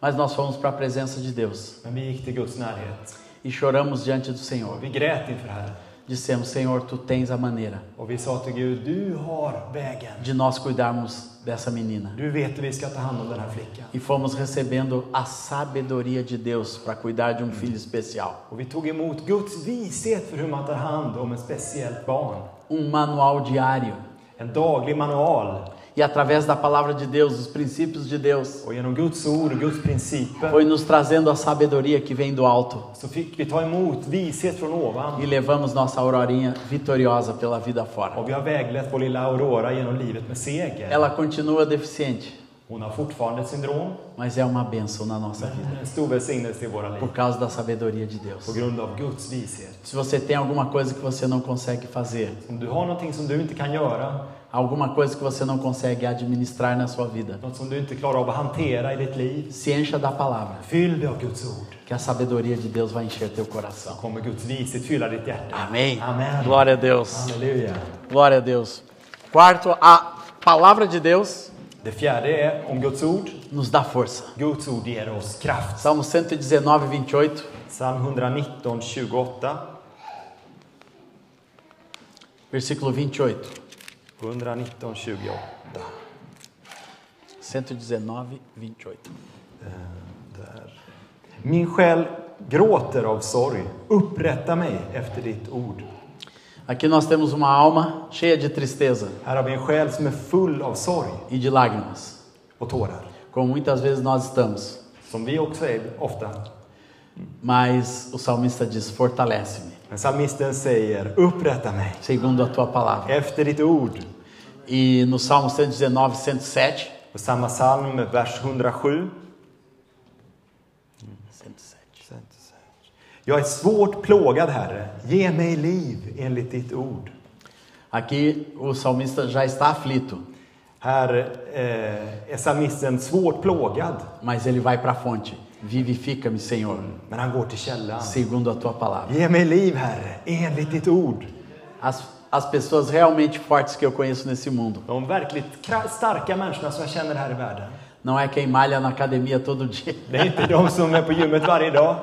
S1: Mas nós fomos para a presença de Deus
S2: Men vi gick till Guds närhet.
S1: e choramos diante do Senhor.
S2: Och vi grät inför Herren.
S1: Dissemos: Senhor, tu tens a maneira
S2: Och vi sa till Gud, du har vägen.
S1: de nós cuidarmos dessa menina.
S2: Du vet hur vi ska ta hand om den här flickan.
S1: E fomos recebendo a sabedoria de Deus para cuidar de um filho especial.
S2: Och vi tog emot Guds vishet för hur man tar hand om ett speciellt barn.
S1: Um manual diário.
S2: En daglig manual.
S1: E através da palavra de Deus, dos princípios de Deus,
S2: Och genom Guds ord och Guds principer
S1: foi nos trazendo a sabedoria que vem do alto.
S2: så fick vi ta emot vishet från ovan.
S1: E levamos nossa aurorinha vitoriosa pela vida fora.
S2: Och vi har väglett vår lilla Aurora genom livet med seger.
S1: Ela continua deficiente,
S2: Hon har fortfarande ett syndrom,
S1: mas é uma bênção na nossa
S2: men
S1: vida.
S2: en stor välsignelse i våra liv.
S1: Por causa da sabedoria de Deus.
S2: På grund av Guds vishet.
S1: Se você tem alguma coisa que você não consegue fazer,
S2: Om du har någonting som du inte kan göra,
S1: alguma coisa que você não consegue administrar na sua vida,
S2: något som du inte klarar av att hantera i ditt liv,
S1: se encha da palavra,
S2: fyll dig av Guds ord.
S1: que a sabedoria de Deus vai encher teu
S2: Då
S1: coração.
S2: kommer Guds vishet fylla ditt hjärta.
S1: Amém.
S2: Amém.
S1: Glória a Deus.
S2: Halleluja.
S1: Glória a Deus. Quarto, a palavra de Deus
S2: Det fjärde är om Guds ord.
S1: nos dá força.
S2: Guds ord ger oss kraft.
S1: Salmo 119, 28.
S2: Psalm 119, 28.
S1: Versículo 28.
S2: 119, 28.
S1: 119, 28.
S2: Där. Min själ gråter av sorg. Upprätta mig efter ditt ord.
S1: Aqui nós temos uma alma cheia de tristeza
S2: Här har vi en själ som är full av sorg
S1: e de lágrimas,
S2: och tårar.
S1: como muitas vezes nós estamos.
S2: Som vi också är ofta.
S1: Mas o salmista diz: Fortalece-me,
S2: Men psalmisten säger upprätta mig
S1: segundo a tua palavra.
S2: efter ditt ord.
S1: E no Salmo 119, 107,
S2: Och samma psalm, vers 107.
S1: 107.
S2: Jag är svårt plågad, Herre. Ge mig liv enligt ditt ord.
S1: Aqui o salmista já está aflito.
S2: Här eh, är psalmisten svårt plågad,
S1: mas ele vai para a fonte. Vivifica-me, Senhor,
S2: men han går till källan.
S1: segundo a tua palavra.
S2: Ge mig liv, Herre, enligt ditt ord.
S1: As, as pessoas realmente fortes que eu conheço nesse mundo.
S2: De verkligt kra- starka människorna som jag känner här i världen.
S1: Não é quem malha na academia todo [laughs] dia,
S2: Det är inte de som är på gymmet varje dag.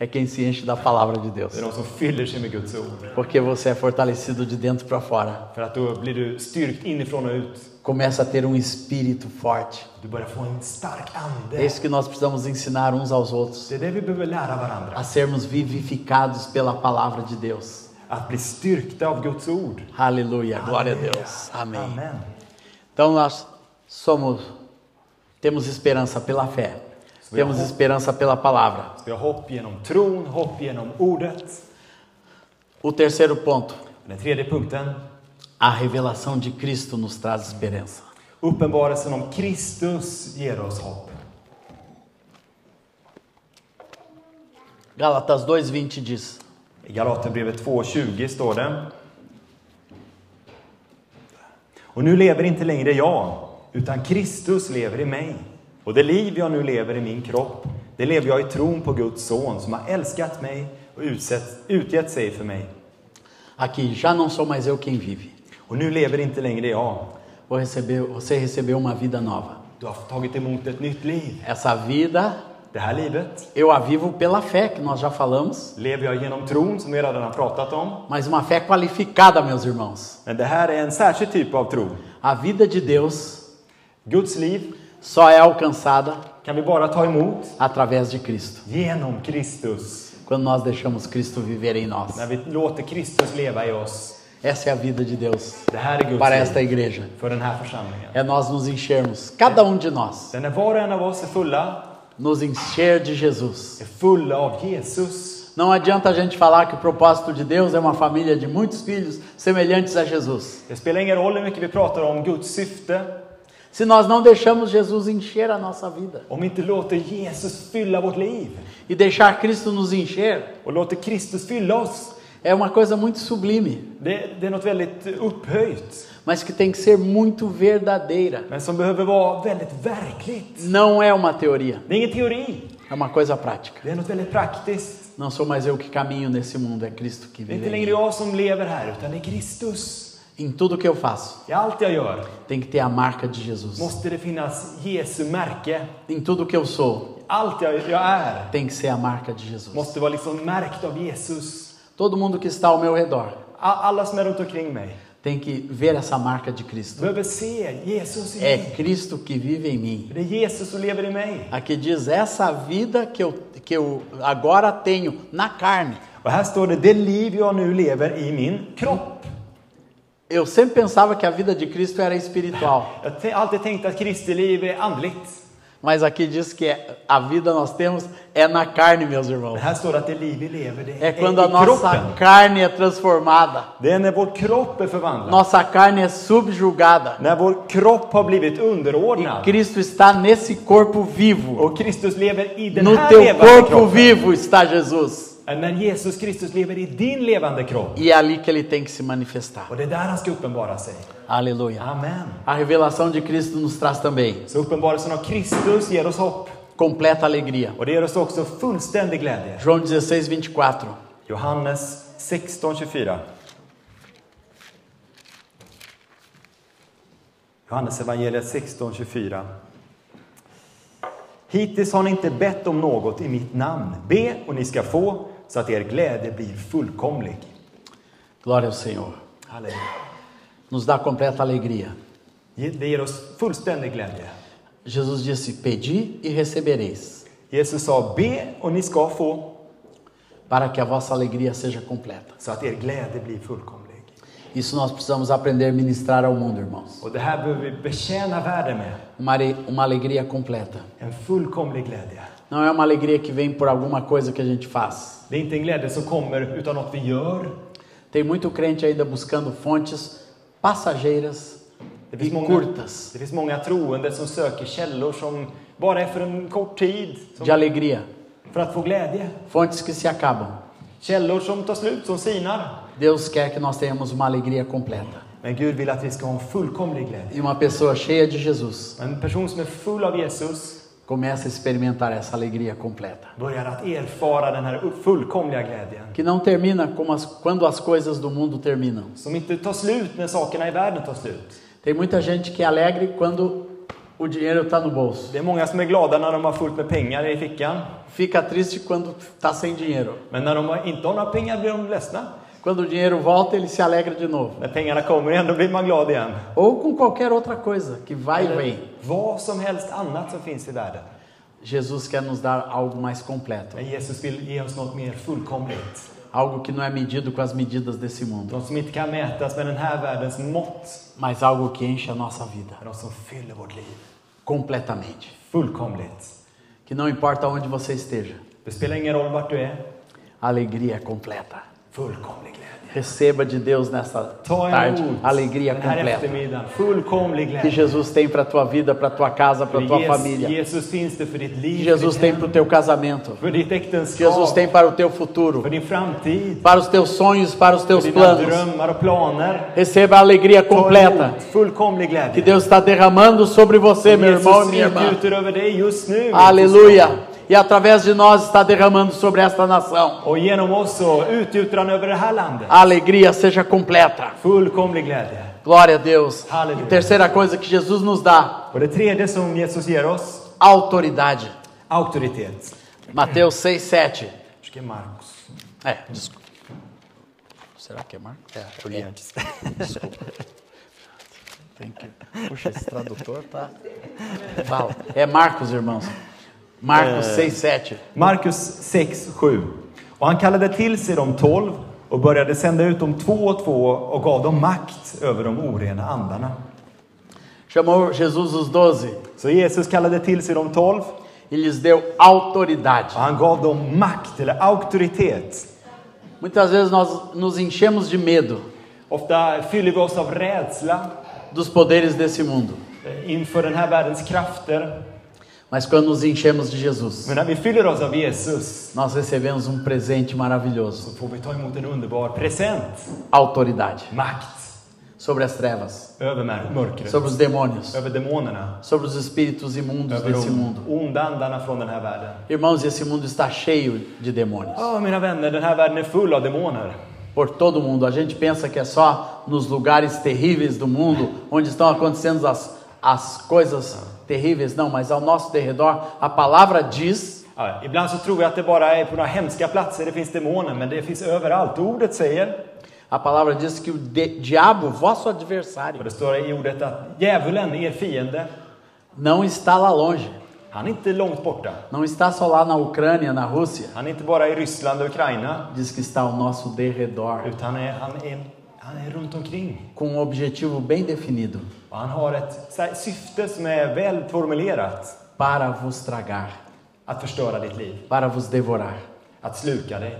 S1: é quem se enche da palavra de Deus.
S2: Det är de som fyller sig med Guds ord.
S1: Porque você é fortalecido de dentro para fora.
S2: För att då blir du styrkt inifrån och ut.
S1: Começa a ter um espírito forte.
S2: Du börjar få en stark
S1: É
S2: ande.
S1: isso que nós precisamos ensinar uns aos outros.
S2: Det är det vi behöver lära varandra.
S1: A sermos vivificados pela palavra de Deus.
S2: Att bli styrkta av Guds ord.
S1: Aleluia. Glória a Deus. Amém.
S2: Amen.
S1: Então nós somos, temos esperança pela fé. Temos esperança pela palavra.
S2: Så vi har hopp genom tron, hopp genom ordet.
S1: O terceiro ponto,
S2: Den tredje punkten.
S1: a revelação de Cristo nos traz esperança.
S2: Uppenbarelsen om Kristus ger oss hopp.
S1: Gálatas 2:20 diz:
S2: I Galaterbrevet 2.20 står det. Och nu lever inte längre jag, utan Kristus lever i mig. Och det liv jag nu lever i min kropp, det lever jag i tron på Guds son som har älskat mig och utsett, utgett sig för mig.
S1: "Aqui já não sou mais eu quem vive.
S2: Och nu lever inte längre jag.
S1: Vou receber, você recebeu uma vida nova.
S2: Du har tagit emot ett nytt liv.
S1: Essa vida
S2: Det här livet
S1: eu a vivo pela fé que nós já falamos,
S2: lever jag genom tron, som vi redan har pratat om.
S1: mas uma fé qualificada, meus irmãos.
S2: Men det här är en särskild typ av tro.
S1: A vida de Deus
S2: Guds liv
S1: só é alcançada
S2: kan vi bara ta emot
S1: através de Cristo,
S2: genom Kristus.
S1: quando nós deixamos Cristo viver em nós.
S2: När vi låter Kristus leva i oss.
S1: Essa é a vida de Deus
S2: Det här är Guds
S1: para esta
S2: liv
S1: igreja.
S2: för den här församlingen.
S1: É nós nos enchermos, cada um de nós,
S2: Den är var och en av oss är fulla,
S1: nos encher de Jesus.
S2: är fulla av Jesus.
S1: Não adianta a gente falar que o propósito de Deus é uma família de muitos filhos semelhantes a Jesus.
S2: Det spelar ingen roll hur mycket vi pratar om Guds syfte,
S1: Se nós não deixamos Jesus encher a nossa vida
S2: om vi inte låter Jesus fylla vårt liv
S1: e deixar Cristo nos encher,
S2: och låter Kristus fylla oss.
S1: é uma coisa muito sublime,
S2: Det, det är något väldigt upphöjt,
S1: mas que tem que ser muito verdadeira.
S2: men som behöver vara väldigt verkligt.
S1: Não é uma teoria,
S2: Det är ingen teori,
S1: é uma coisa prática.
S2: det är något väldigt praktiskt.
S1: Não sou mais eu que caminho nesse mundo, é Cristo que
S2: Det är inte
S1: vive. em
S2: längre
S1: mim.
S2: jag som lever här, utan det är Kristus.
S1: Em tudo que eu faço,
S2: I allt jag gör
S1: tem que ter a marca de Jesus.
S2: måste det finnas Jesu märke
S1: Em tudo que eu sou,
S2: Allt jag, jag är
S1: tem que ser a marca de Jesus.
S2: måste vara liksom märkt av Jesus.
S1: Todo mundo que está ao meu redor
S2: A- Alla som är runt omkring mig
S1: tem que ver essa marca de Cristo.
S2: behöver se Jesus i
S1: É
S2: mig.
S1: Cristo que vive em mim.
S2: Det är Jesus som lever i mig.
S1: Aqui diz essa vida que eu, que eu agora tenho na carne.
S2: Och här står det, det liv jag nu lever i min kropp.
S1: Eu sempre pensava que a vida de Cristo era
S2: [laughs]
S1: espiritual,
S2: Jag har alltid tänkt att Kristi liv är andligt.
S1: mas aqui diz que é- a vida nós temos é na carne, meus
S2: Men
S1: irmãos.
S2: här står det att det liv vi lever, det
S1: É
S2: är
S1: quando a
S2: i kroppen.
S1: nossa carne é transformada,
S2: Det är när vår kropp är förvandlad.
S1: nossa carne é subjugada.
S2: När vår kropp har blivit
S1: E
S2: underordnad.
S1: Cristo está nesse corpo vivo.
S2: Och Kristus lever i den
S1: No
S2: här
S1: teu
S2: levande
S1: corpo
S2: kroppen.
S1: vivo está Jesus.
S2: När Jesus Kristus lever i din levande kropp.
S1: E é ali que ele tem que se manifestar.
S2: Och det är där han ska uppenbara sig.
S1: Aleluia.
S2: Amen.
S1: A revelação de Cristo nos traz também
S2: Så uppenbarelsen av Kristus ger oss hopp
S1: completa alegria.
S2: och det ger oss också fullständig glädje.
S1: João 16, 24.
S2: Johannes 16.24 Johannes evangeliet 16.24 Hittills har ni inte bett om något i mitt namn. Be och ni ska få, så att er glädje blir fullkomlig.
S1: Glória ao Senhor.
S2: Halleluja.
S1: Nos dá completa alegria.
S2: Det ger oss fullständig glädje.
S1: Jesus disse: Pedi e recebereis,
S2: Jesus sa, be och ni ska få,
S1: para que a vossa alegria seja completa.
S2: så att er glädje blir fullkomlig.
S1: Isso nós precisamos aprender a ministrar ao mundo, irmãos.
S2: Och det här behöver vi betjäna världen med.
S1: Uma, are- uma alegria completa.
S2: En fullkomlig glädje.
S1: Não é uma alegria que vem por alguma coisa que a gente faz.
S2: Det är inte en glädje som kommer utan något vi gör.
S1: Tem muito crente ainda buscando fontes passageiras
S2: Det
S1: e
S2: finns, många,
S1: curtas
S2: det finns många troende som söker källor som bara är för en kort tid.
S1: de
S2: Som,
S1: alegria,
S2: för att få glädje.
S1: fontes que se acabam.
S2: Källor som tar slut, som sinar.
S1: Deus quer que nós tenhamos uma alegria completa.
S2: Men Gud vill att vi ska ha en fullkomlig glädje.
S1: E uma pessoa cheia de Jesus
S2: En person som är full av Jesus
S1: começa a experimentar essa alegria completa.
S2: börjar att erfara den här fullkomliga glädjen.
S1: Que não termina como as, quando as coisas do mundo terminam.
S2: Som inte tar slut när sakerna i världen tar slut.
S1: Tem muita gente que é alegre quando o dinheiro está no bolso.
S2: Det är många som är glada när de har fullt med pengar i fickan.
S1: Fica triste quando está sem dinheiro.
S2: Men när de inte har några pengar blir de ledsna.
S1: Quando o dinheiro volta, ele se alegra de novo.
S2: När pengarna kommer igen, då blir man glad igen.
S1: Ou com qualquer outra coisa que vai e vem.
S2: Vad som helst annat som finns i världen.
S1: Jesus quer nos dar algo mais completo.
S2: Men Jesus vill ge oss något mer fullkomligt.
S1: Algo que não é medido com as medidas desse mundo,
S2: Något som inte kan mätas med den här världens mått.
S1: mas algo que enche a nossa vida
S2: Men något som fyller vårt liv.
S1: completamente.
S2: Fullkomligt.
S1: Que não importa onde você esteja,
S2: Det spelar ingen roll vart du är.
S1: a alegria é completa.
S2: Fullkomlig glädje.
S1: Receba de Deus nessa
S2: Ta
S1: tarde
S2: emot
S1: a alegria
S2: den här
S1: completa
S2: eftermiddagen. Fullkomlig
S1: que
S2: glädje.
S1: Jesus tem para tua vida, para tua casa,
S2: För
S1: para tua
S2: Jesus-
S1: família.
S2: Jesus finns det för ditt
S1: Que
S2: liv,
S1: Jesus
S2: för, ditt
S1: tem
S2: hem,
S1: para o teu casamento.
S2: för ditt
S1: Que Jesus
S2: äktenskap,
S1: tem para o teu futuro,
S2: för din framtid,
S1: para os teus sonhos, para os
S2: för
S1: teus
S2: dina
S1: planos.
S2: drömmar och planer.
S1: Receba a alegria
S2: Ta
S1: completa
S2: emot Fullkomlig
S1: que
S2: glädje.
S1: Deus está derramando sobre você,
S2: é
S1: meu irmão e
S2: Jesus
S1: minha irmã.
S2: utgjuter över dig just nu.
S1: Aleluia. E através de nós está derramando sobre esta nação.
S2: Och genom oss så utgjuter han över det här landet.
S1: A alegria seja completa.
S2: Fullkomlig glädje.
S1: Glória a Deus.
S2: Aleluia.
S1: E terceira coisa que Jesus nos dá,
S2: Och det tredje som Jesus ger oss,
S1: autoridade.
S2: auktoritet.
S1: Mateus 6, 7.
S2: Jag ska ge Markus.
S1: É, desculpa. Será que é Marcos? É, eu li antes. Desculpa. Tem que... Puxa, esse tradutor tá... Fala. É Marcos, irmãos. Marcos 6, 7.
S2: Markus 6, 7. Och han kallade till sig de tolv och började sända ut dem två och två och gav dem makt över de orena andarna.
S1: Chamou Jesus os doze
S2: Så Jesus kallade till sig de tolv
S1: e lhes deu autoridade.
S2: och han gav dem makt eller auktoritet.
S1: Muitas vezes nós nos enchemos de medo
S2: Ofta fyller vi oss av rädsla
S1: dos poderes desse mundo,
S2: eh, inför den här världens krafter.
S1: mas quando nos enchemos de Jesus,
S2: Men när vi fyller oss av Jesus
S1: nós recebemos um presente maravilhoso:
S2: så får vi ta emot en underbar present.
S1: autoridade
S2: Makt
S1: sobre as trevas,
S2: över mör- mörkret,
S1: sobre os demônios,
S2: över demonerna,
S1: sobre os espíritos imundos
S2: över
S1: desse
S2: de
S1: mundo.
S2: onda andarna från den här världen.
S1: Irmãos, esse mundo está cheio de demônios.
S2: Ja, mina vänner, den här världen är full av demoner.
S1: Por todo mundo. A gente pensa que é só nos lugares terríveis do mundo onde estão acontecendo as, as coisas terríveis. Não, mas ao nosso derredor, a palavra diz
S2: Ja, ibland så tror jag att det bara är på några hemska platser det finns demoner, men det finns överallt. Ordet säger,
S1: A palavra diz que o de- diabo, vosso
S2: och
S1: adversário,
S2: det står i ordet att djävulen, er fiende,
S1: não está lá longe.
S2: han är inte långt borta.
S1: Não está só lá na Ucrânia, na Rússia.
S2: Han är inte bara i Ryssland och Ukraina,
S1: Diz que está ao nosso derredor,
S2: utan han är, han är, han är runt omkring.
S1: com um objetivo bem definido
S2: Och han har ett så här, syfte som är väl formulerat.
S1: para vos tragar,
S2: Att förstöra ditt liv,
S1: para vos devorar,
S2: att sluka dig,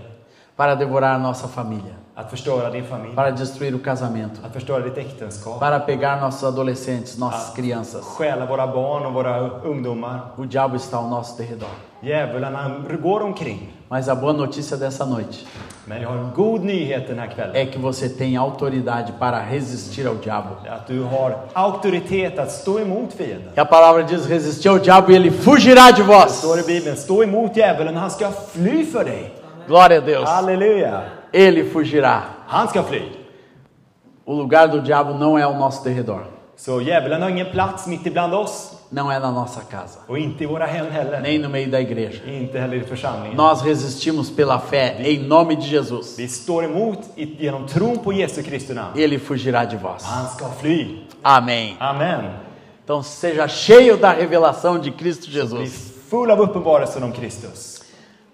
S1: para devorar a nossa família,
S2: att förstöra din familj,
S1: para destruir o casamento,
S2: att förstöra ditt äktenskap,
S1: para pegar nossos adolescentes, nossas crianças.
S2: stjäla våra barn och våra ungdomar.
S1: O diabo está ao nosso derredor.
S2: Djävulen, han går omkring.
S1: Mas a boa notícia dessa noite
S2: Men jag har en god nyhet den här kvällen.
S1: é que você tem autoridade para resistir ao diabo.
S2: Att du har auktoritet att stå emot fienden.
S1: E a palavra diz: resistir ao diabo e ele fugirá de vós.
S2: Står i Bibeln, stå emot djävulen, han ska fly för dig.
S1: Glória a Deus.
S2: Halleluja!
S1: Ele fugirá.
S2: Han ska fly.
S1: O lugar do diabo não é o nosso derredor,
S2: Så djävulen har ingen plats mitt ibland oss
S1: não é na nossa casa,
S2: och inte i våra hem heller.
S1: nem no meio da igreja.
S2: Inte heller i församlingen.
S1: Nós resistimos pela fé em nome de Jesus.
S2: Vi står emot i- genom tron på Jesu Kristi namn.
S1: Ele fugirá de vós.
S2: Han ska fly.
S1: Amém.
S2: Amen.
S1: Então seja cheio da revelação de Cristo
S2: Vi
S1: Jesus.
S2: är full av uppenbarelsen om Kristus.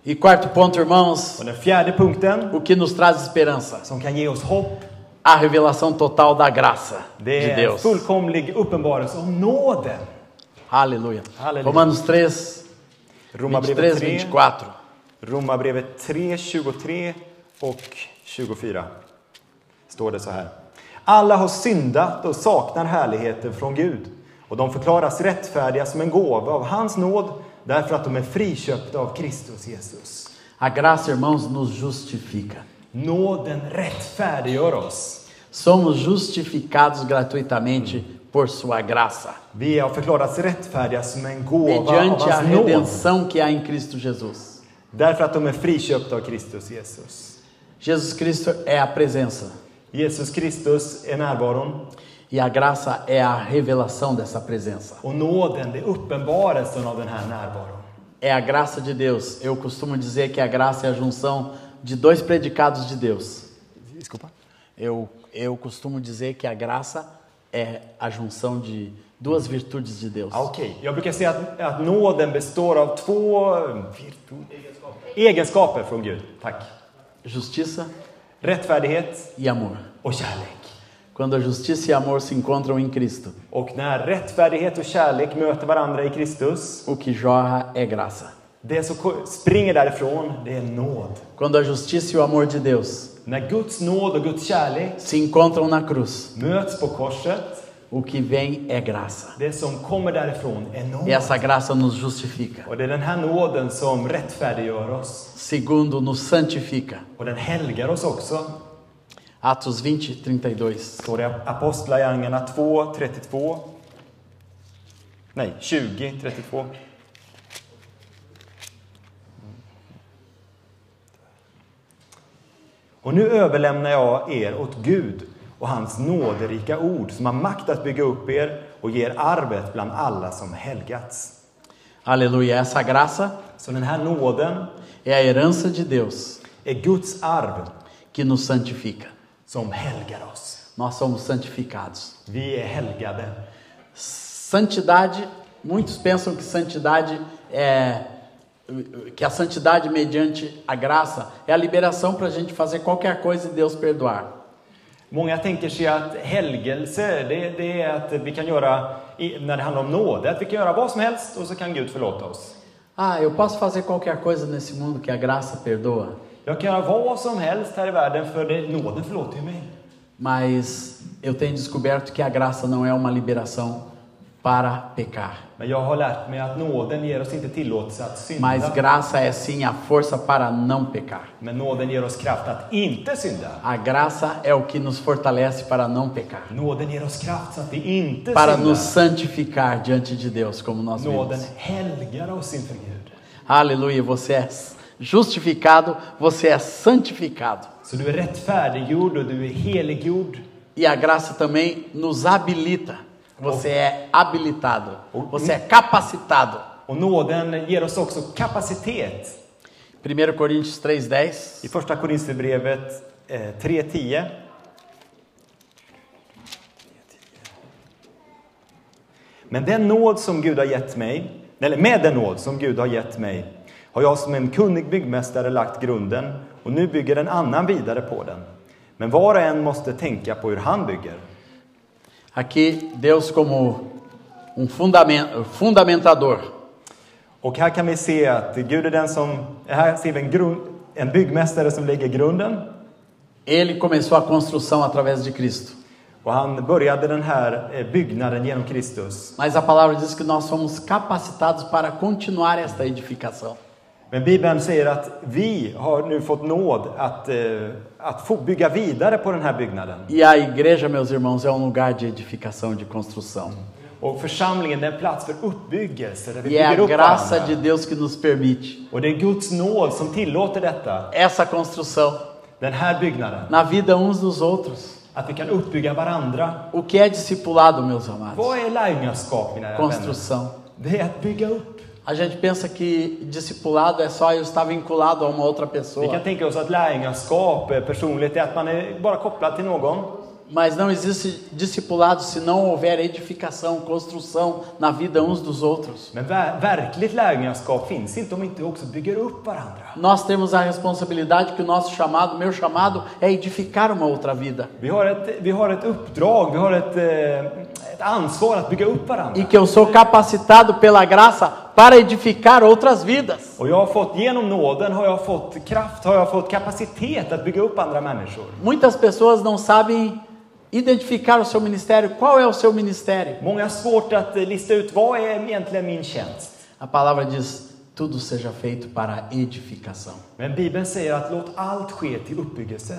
S1: E quarto ponto, irmãos,
S2: Och den fjärde punkten
S1: o que nos traz esperança?
S2: som kan ge oss hopp,
S1: A revelação total da graça
S2: det
S1: de
S2: är en
S1: Deus.
S2: fullkomlig uppenbarelse om nåden.
S1: Aleluia.
S2: Aleluia.
S1: Romanos 3, 23,
S2: Romarbrevet 3,
S1: 24.
S2: Romarbrevet 3, 23 och 24. Står det så här. Alla har syndat och saknar härligheten från Gud. Och de förklaras rättfärdiga som en gåva av hans nåd därför att de är friköpta av Kristus Jesus.
S1: A graça, irmãos, nos justifica.
S2: Nåden rättfärdiggör oss.
S1: somos justificados gratuitamente por sua graça,
S2: Vi har förklarats rättfärdiga som en gåva av
S1: mediante a
S2: hans nåd.
S1: redenção que há em Cristo Jesus.
S2: Därför att de är friköpta av Kristus Jesus.
S1: Jesus Cristo é a presença
S2: Jesus Kristus är närvaron
S1: e a graça é a revelação dessa presença.
S2: och nåden, det är uppenbarelsen av den här närvaron.
S1: É a graça de Deus. Eu costumo dizer que a graça é a junção de dois predicados de Deus.
S2: Desculpa.
S1: Eu, eu costumo dizer que a graça é a junção de duas virtudes de Deus.
S2: Ah, Okej, jag brukar säga att, att nåden består av två virtu- egenskaper från Gud. Tack.
S1: Justiça
S2: Rättfärdighet
S1: e amor.
S2: och kärlek.
S1: Quando a justiça e amor se encontram em Cristo,
S2: Och när rättfärdighet och kärlek möter varandra i Kristus,
S1: o que jorra é graça.
S2: det som ko- springer därifrån, det är nåd.
S1: Quando a justiça e o amor de Deus
S2: När Guds nåd och Guds kärlek
S1: se encontram na cruz,
S2: möts på korset,
S1: o que vem é graça.
S2: det som kommer därifrån är nåd.
S1: E essa graça nos justifica.
S2: Och det är den här nåden som rättfärdiggör oss.
S1: Segundo, nos santifica.
S2: Och den helgar oss också.
S1: Atos 20, 32.
S2: Står det i Apostlagärningarna 2, 32. Nej, 20, 32. Och nu överlämnar jag er åt Gud och hans nåderika ord som har makt att bygga upp er och ger arvet bland alla som helgats.
S1: Aleluia. Essa graça
S2: Så den här nåden
S1: é a herança de Deus
S2: är Guds arv
S1: que nos santifica.
S2: som helgar oss.
S1: Nós somos santificados.
S2: Vi är helgade.
S1: Santidade, muitos pensam que santidade é que a santidade mediante a graça é a liberação para a gente fazer qualquer coisa e Deus perdoar.
S2: Många tänker sig att helgelse, det, det är att vi kan göra, i- när det handlar om nåd, att vi kan göra vad som helst och så kan Gud förlåta oss.
S1: Ah, eu posso fazer qualquer coisa nesse mundo que a graça perdoa,
S2: Jag kan göra vad som helst här i världen för det, nåden förlåter ju mig.
S1: mas eu tenho descoberto que a graça não é uma liberação para pecar.
S2: Men jag har lärt mig att nåden ger oss inte tillåtelse att
S1: Mas
S2: synda.
S1: graça é sim a força para não pecar.
S2: Men nåden ger oss kraft att inte synda.
S1: A graça é o que nos fortalece para não pecar,
S2: Nåden ger oss kraft så att vi inte
S1: para
S2: syndar.
S1: nos santificar diante de Deus, como nós
S2: Nåden
S1: vimos.
S2: helgar oss inför Gud.
S1: Aleluia, você é justificado, você é santificado.
S2: Så du är rättfärdiggjord och du är heliggjord.
S1: E a graça também nos habilita. Você é habilitado,
S2: Oh.
S1: você é capacitado.
S2: Och nåden ger oss också kapacitet
S1: 1 Coríntios 3:10.
S2: I första Korinthierbrevet eh, 3.10. Men den nåd som Gud har gett mig, eller med den nåd som Gud har gett mig, har jag som en kunnig byggmästare lagt grunden och nu bygger en annan vidare på den. Men var och en måste tänka på hur han bygger.
S1: Aqui Deus como um fundamen- fundamentador.
S2: Och här kan vi se att Gud är den som, här ser vi en, grund, en byggmästare som lägger grunden
S1: Ele começou a construção através de Cristo.
S2: och han började den här eh, byggnaden genom Kristus.
S1: Mas a palavra diz que nós somos capacitados para continuar esta edificação.
S2: Men Bibeln säger att vi har nu fått nåd att, eh, att få bygga vidare på den här byggnaden.
S1: E a igreja, meus irmãos, é um lugar de edificação, de construção.
S2: Och församlingen det är en plats för uppbyggelse där vi
S1: E é a
S2: bygger upp
S1: graça de
S2: varandra.
S1: Deus que nos permite
S2: Och det är Guds nåd som tillåter detta,
S1: essa construção
S2: den här byggnaden.
S1: na vida uns dos outros.
S2: Att vi kan uppbygga varandra.
S1: O que é discipulado, meus amados?
S2: Vad är lärjungaskap mina vänner?
S1: Construção.
S2: Det är att bygga upp.
S1: A gente pensa que discipulado é só eu estar vinculado a uma outra
S2: Vi kan
S1: pessoa,
S2: tänka oss att lärjungaskap eh, personligt är att man är bara kopplad till någon.
S1: mas não existe discipulado se não houver edificação, construção na vida uns dos outros.
S2: Men ver- verkligt lärjungaskap finns inte om vi inte också bygger upp varandra.
S1: Nós temos a responsabilidade que o nosso chamado, meu chamado, é edificar uma outra vida.
S2: Vi har, ett, vi har ett uppdrag, vi har ett, eh, ett ansvar att bygga upp varandra.
S1: E que eu sou capacitado pela graça para edificar outras vidas.
S2: Och jag har fått, genom nåden har jag fått kraft, har jag fått kapacitet att bygga upp andra människor.
S1: Muitas pessoas não sabem identificar o seu ministério. Qual é o seu ministério?
S2: Många har svårt att eh, lista ut vad är egentligen min tjänst.
S1: A palavra diz: tudo seja feito para edificação.
S2: Men Bibeln säger att låt allt ske till uppbyggelse.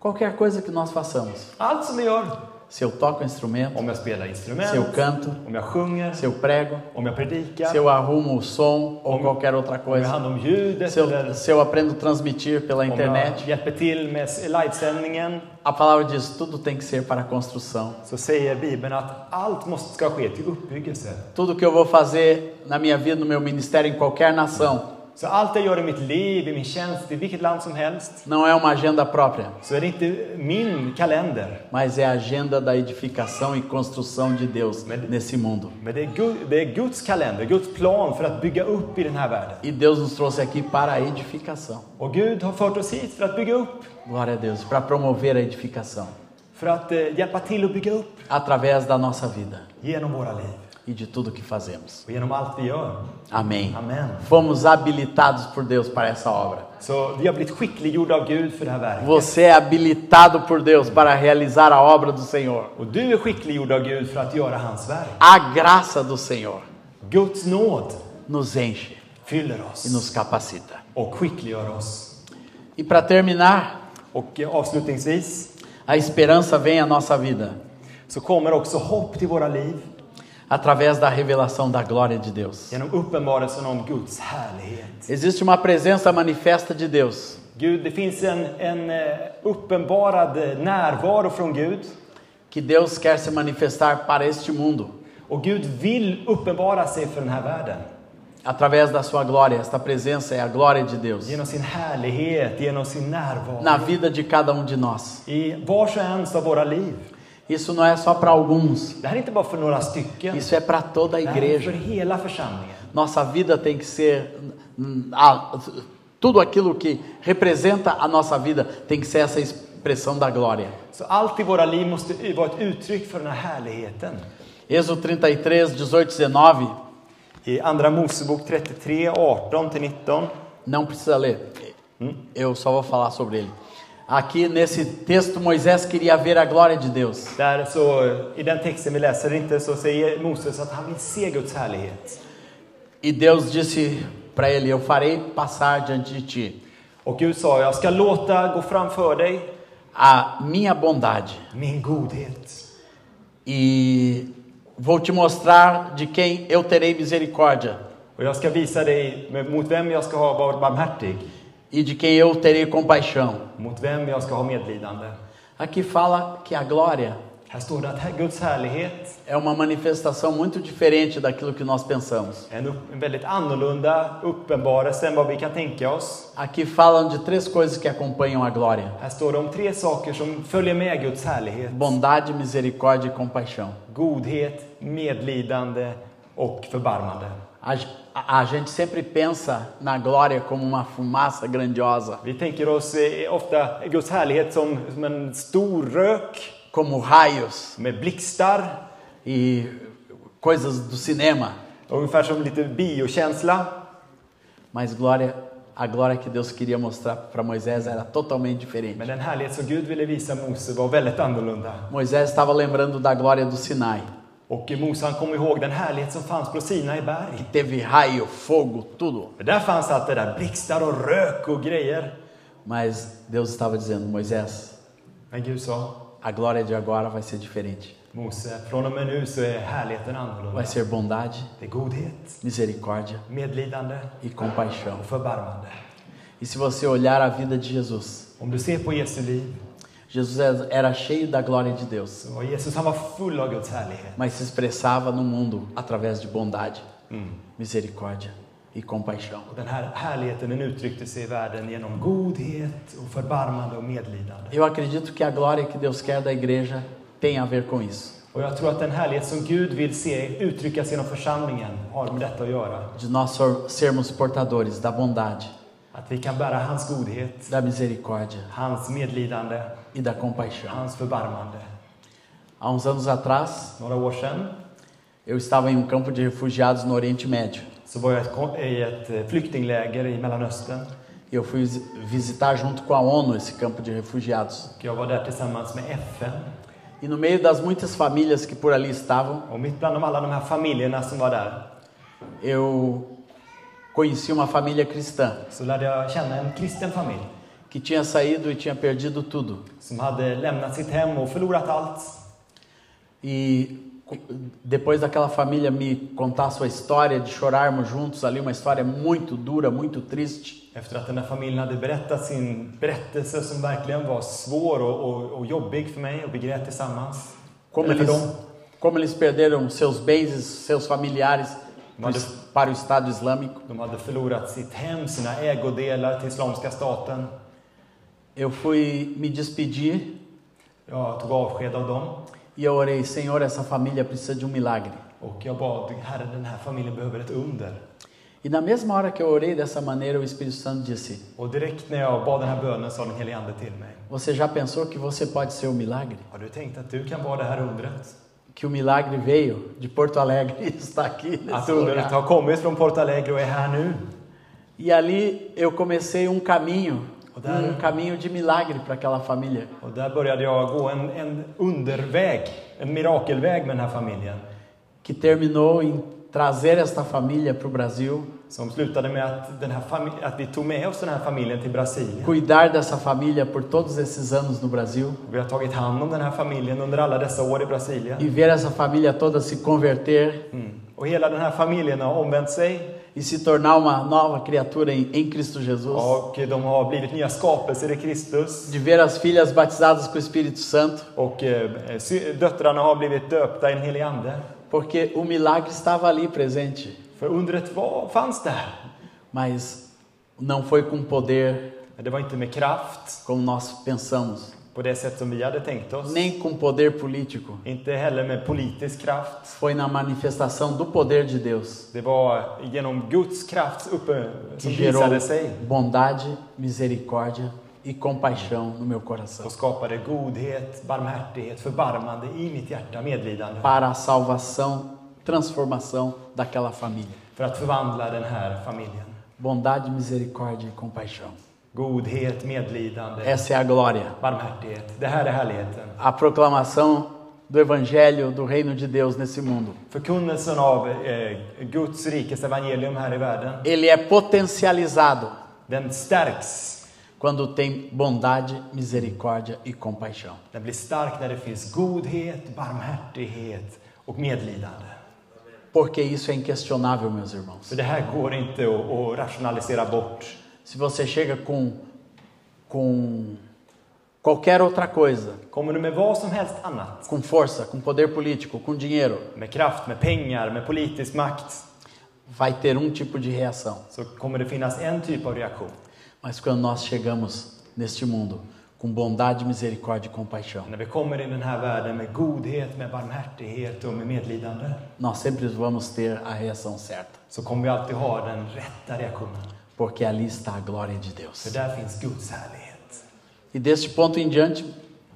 S1: Qualquer coisa que nós façamos.
S2: Allt som vi gör.
S1: Se eu toco um instrumento,
S2: Om jag spelar instrument,
S1: se eu canto,
S2: om jag sjunger,
S1: se eu prego,
S2: om jag predikar,
S1: se eu arrumo o som ou
S2: Om-
S1: qualquer outra
S2: om jag har
S1: coisa,
S2: hand om ljudet,
S1: se eu,
S2: eller
S1: se eu aprendo a transmitir pela
S2: om jag
S1: internet,
S2: hjälper till med livesändningen,
S1: a palavra diz tudo tem que ser para a construção.
S2: så säger Bibeln att allt måste ska ske till uppbyggelse.
S1: Tudo que eu vou fazer na minha vida, no meu ministério, em qualquer nação,
S2: Så allt jag gör i mitt liv, i min tjänst, i vilket land som helst,
S1: não é uma agenda própria,
S2: så är det inte min kalender.
S1: mas é a agenda da edificação e construção de Deus nesse mundo.
S2: Men det är, Gud, det är Guds kalender, Guds plan för att bygga upp i den här världen.
S1: E Deus nos trouxe aqui para a edificação.
S2: Och Gud har fört oss hit för att bygga upp,
S1: Glória a Deus, para promover a edificação
S2: för att eh, hjälpa till att bygga upp
S1: através da nossa vida
S2: genom våra liv
S1: e de tudo que fazemos.
S2: och genom allt vi gör.
S1: Amém.
S2: Amen.
S1: Fomos habilitados por Deus para essa obra.
S2: Så vi har blivit skickliggjorda av Gud för det här verket.
S1: Você é habilitado por Deus para realizar a obra do Senhor.
S2: Och du är skickliggjord av Gud för att göra hans verk.
S1: A graça do Senhor
S2: Guds nåd
S1: nos enche
S2: fyller
S1: e
S2: oss
S1: nos capacita.
S2: och skickliggör oss.
S1: E para terminar,
S2: Och eh, avslutningsvis
S1: a esperança vem à nossa vida
S2: så kommer också hopp till våra liv
S1: através da revelação da glória de Deus.
S2: genom uppenbarelsen om Guds härlighet.
S1: Existe uma presença manifesta de Deus
S2: Gud, det finns en, en eh, uppenbarad eh, närvaro från Gud
S1: que Deus quer se manifestar para este mundo
S2: och Gud vill uppenbara sig för den här världen.
S1: através da sua glória. Esta presença é a glória de Deus
S2: Genom sin härlighet, genom sin närvaro.
S1: na vida de cada um de nós.
S2: I vars och ens av våra liv.
S1: Isso não é só para alguns,
S2: Det här är inte bara för några stycken.
S1: isso é para toda a
S2: Det här är för
S1: igreja.
S2: hela församlingen.
S1: Nossa vida tem que ser hum, a- tudo aquilo que representa a nossa vida tem que ser essa expressão da glória.
S2: Så allt i våra liv måste vara ett uttryck för den här härligheten.
S1: Êxodo 33, 18, 19,
S2: I Andra Mosebok 33, 18-19.
S1: não precisa ler. Eu só vou falar sobre ele. Aqui nesse texto Moisés queria ver a glória de Deus.
S2: Där så, I den texten vi läser inte så säger Moses att han vill se Guds härlighet.
S1: E Deus disse para ele: Eu farei passar diante de ti
S2: Och Gud sa, jag ska låta gå framför dig
S1: a minha bondade
S2: min godhet.
S1: e vou te mostrar de quem eu terei misericórdia
S2: Och jag ska visa dig mot vem jag ska ha varit barmhärtig,
S1: e de quem eu terei compaixão.
S2: mot vem jag ska ha medlidande.
S1: Aqui fala que a glória
S2: Här står det att Guds härlighet
S1: é uma manifestação muito diferente daquilo que nós pensamos.
S2: är en, upp, en väldigt annorlunda uppenbarelse än vad vi kan tänka oss.
S1: Aqui falam de três coisas que acompanham a glória:
S2: Här står det om tre saker som följer med Guds härlighet.
S1: bondade, misericórdia e compaixão.
S2: Godhet, medlidande och förbarmande.
S1: A, a- a gente sempre pensa na glória como uma fumaça grandiosa,
S2: Vi tänker oss eh, ofta Guds härlighet som, som en stor rök
S1: como raios
S2: med blixtar,
S1: e coisas do cinema,
S2: ungefär som lite biokänsla.
S1: mas glória, a glória que Deus queria mostrar para Moisés era totalmente diferente.
S2: Men den härlighet som Gud ville visa Mose var väldigt annorlunda.
S1: Moisés estava lembrando da glória do Sinai.
S2: Och Mose han kom ihåg den härlighet som fanns på Sinai berg.
S1: Teve raio, fogo, tudo.
S2: För där fanns allt det där, blixtar och rök och grejer.
S1: Mas Deus estava dizendo, Moisés,
S2: Men Gud sa,
S1: a glória de agora vai ser diferente.
S2: Mose, från och med nu så är härligheten annorlunda.
S1: Vai ser bondade,
S2: Det är godhet,
S1: misericórdia
S2: medlidande
S1: e compaixão.
S2: och förbarmande.
S1: E se você olhar a vida de Jesus,
S2: Om du ser på Jesu liv,
S1: Jesus é, era cheio da glória de Deus,
S2: så var Jesus han var full av Guds härlighet.
S1: mas se expressava no mundo através de bondade, misericórdia e compaixão.
S2: Och den här härligheten den uttryckte sig i världen genom godhet och förbarmande och medlidande.
S1: Eu acredito que a glória que Deus quer da igreja tem a ver com isso,
S2: Och jag tror att den härlighet som Gud vill se uttryckas genom församlingen har med detta att göra.
S1: de nós sor- sermos portadores da bondade,
S2: Att vi kan bära hans godhet,
S1: da misericórdia
S2: hans medlidande
S1: e da compaixão.
S2: hans förbarmande.
S1: Há uns anos atrás,
S2: Några år sedan
S1: eu estava em um campo de refugiados no Oriente Médio.
S2: så var jag ett ko- i ett eh, flyktingläger i Mellanöstern.
S1: Eu fui vis- visitar junto com a ONU esse campo de refugiados.
S2: Och Jag var där tillsammans med FN.
S1: E no meio das muitas famílias que por ali estavam,
S2: Och mitt bland de alla de här familjerna som var där
S1: eu conheci uma família cristã
S2: så lärde jag känna en kristen familj.
S1: que tinha saído e tinha perdido tudo.
S2: som hade lämnat sitt hem och förlorat allt.
S1: E co- depois daquela família me contar sua história, de chorarmos juntos ali, uma história muito dura, muito triste.
S2: Efter att den där familjen hade berättat sin berättelse som verkligen var svår och, och, och jobbig för mig och vi grät tillsammans.
S1: Como
S2: Eller
S1: eles,
S2: för dem.
S1: como eles perderam seus bens, seus familiares
S2: Mas-
S1: pro- para o Estado Islâmico.
S2: De hade förlorat sitt hem, sina ägodelar till Islamiska staten.
S1: Eu fui me despedir
S2: Jag tog avsked av dem
S1: e eu orei, Senhor, essa família precisa de um milagre.
S2: och jag bad Herre, den här familjen behöver ett under.
S1: E na mesma hora que eu orei dessa maneira, o Espírito Santo disse:
S2: Och direkt när jag bad den här bönen sa den helige Ande till mig.
S1: Você já pensou que você pode ser o milagre?
S2: Har du tänkt att du kan vara det här undret?
S1: Que o milagre veio de Porto Alegre e está aqui
S2: Att
S1: nesse
S2: undret
S1: lugar.
S2: har kommit från Porto Alegre och är här nu.
S1: E ali eu comecei um caminho,
S2: Ô, Dara.
S1: um caminho de milagre para aquela família.
S2: Och där började jag gå en, en underväg, en mirakelväg med den här familjen.
S1: Que terminou em trazer esta família para o Brasil,
S2: Som slutade med att, den här fami- att vi tog med oss den här familjen till Brasilien.
S1: cuidar dessa família por todos esses anos no Brasil
S2: Vi har tagit hand om den här familjen under alla dessa år i Brasilien.
S1: e ver essa família toda se converter
S2: Mm. Och hela den här familjen har omvänt sig
S1: e se tornar uma nova criatura em, em Cristo Jesus.
S2: och de har blivit nya skapelser i Kristus.
S1: De ver as filhas batizadas com o Espírito Santo,
S2: Och eh, sy- döttrarna har blivit döpta i den helige Ande.
S1: porque o milagre estava ali presente,
S2: För undret var, fanns där.
S1: mas não foi com poder
S2: Men det var inte med kraft
S1: como nós pensamos,
S2: på det sätt som vi hade tänkt oss.
S1: nem com poder político.
S2: Inte heller med politisk kraft.
S1: Foi na manifestação do poder de Deus
S2: Det var genom Guds kraft uppe, som
S1: que gerou
S2: visade sig
S1: bondade, misericórdia e compaixão no meu coração.
S2: och skapade godhet, barmhärtighet, förbarmande i mitt hjärta, medlidande.
S1: para a salvação, transformação daquela família.
S2: För att förvandla den här familjen.
S1: Bondade, misericórdia e compaixão.
S2: Godhet, medlidande,
S1: Essa é a glória.
S2: barmhärtighet. Det här är härligheten.
S1: A proclamação do evangelho do reino de Deus nesse mundo.
S2: Förkunnelsen av eh, Guds rikes evangelium här i världen,
S1: Ele é potencializado
S2: den stärks.
S1: quando tem bondade, misericórdia e compaixão.
S2: Den blir stark när det finns godhet, barmhärtighet och medlidande.
S1: Porque isso é inquestionável, meus irmãos.
S2: För det här går inte att, att rationalisera bort.
S1: Se você chega com com qualquer outra coisa,
S2: Kommer du med vad som helst annat,
S1: com força, com poder político, com dinheiro,
S2: med kraft, med pengar, med politisk makt,
S1: vai ter um tipo de reação.
S2: så kommer det finnas en typ av reaktion.
S1: Mas quando nós chegamos neste mundo com bondade, misericórdia e compaixão,
S2: När vi kommer in i den här världen med godhet, med barmhärtighet och med medlidande,
S1: nós sempre vamos ter a reação certa,
S2: så kommer vi alltid ha den rätta reaktionen.
S1: porque ali está a glória de
S2: För
S1: Deus.
S2: där finns Guds härlighet.
S1: E deste ponto em diante,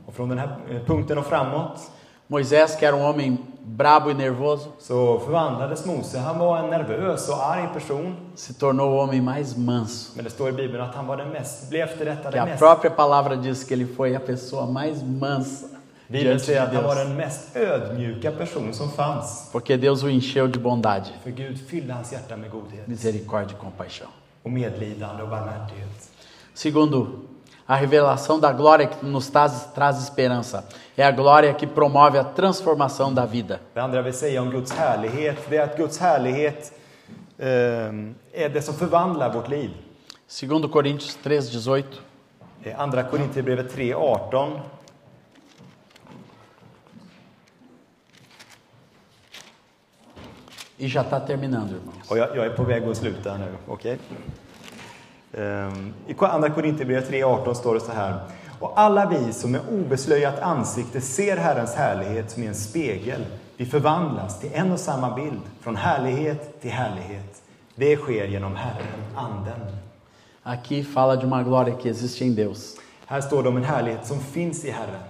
S2: Och från den här eh, punkten och framåt
S1: Moisés, que era um homem brabo e nervoso,
S2: så förvandlades Mose. Han var en nervös och arg person.
S1: se tornou o homem mais manso.
S2: Men det står i Bibeln att han var den mest, blev efter detta
S1: Que
S2: den
S1: a
S2: mest.
S1: própria palavra diz que ele foi a pessoa mais mansa
S2: Bibeln
S1: diante de
S2: säger att han var
S1: Deus,
S2: den mest ödmjuka person som fanns.
S1: porque Deus o encheu de bondade,
S2: För Gud fyllde hans hjärta med godhet
S1: misericórdia e compaixão.
S2: och medlidande och barmhärtighet.
S1: Segundo, a revelação da glória que nos traz, traz esperança. É a glória que promove a transformação da vida.
S2: Det andra jag vill säga om Guds härlighet, det är att Guds härlighet eh, är det som förvandlar vårt liv.
S1: Segundo Coríntios 3:18.
S2: Eh, Andra Korinthierbrevet 3.18.
S1: E já está terminando, irmão.
S2: Och jag, jag är på väg att sluta nu, okej? Ehm, I Ko- Andra Korinthierbrevet 3.18 står det så här. Och alla vi som med obeslöjat ansikte ser Herrens härlighet som i en spegel, vi förvandlas till en och samma bild, från härlighet till härlighet. Det sker genom Herren, Anden.
S1: Aqui fala de uma glória que existe em Deus.
S2: Här står det om en härlighet som finns i Herren.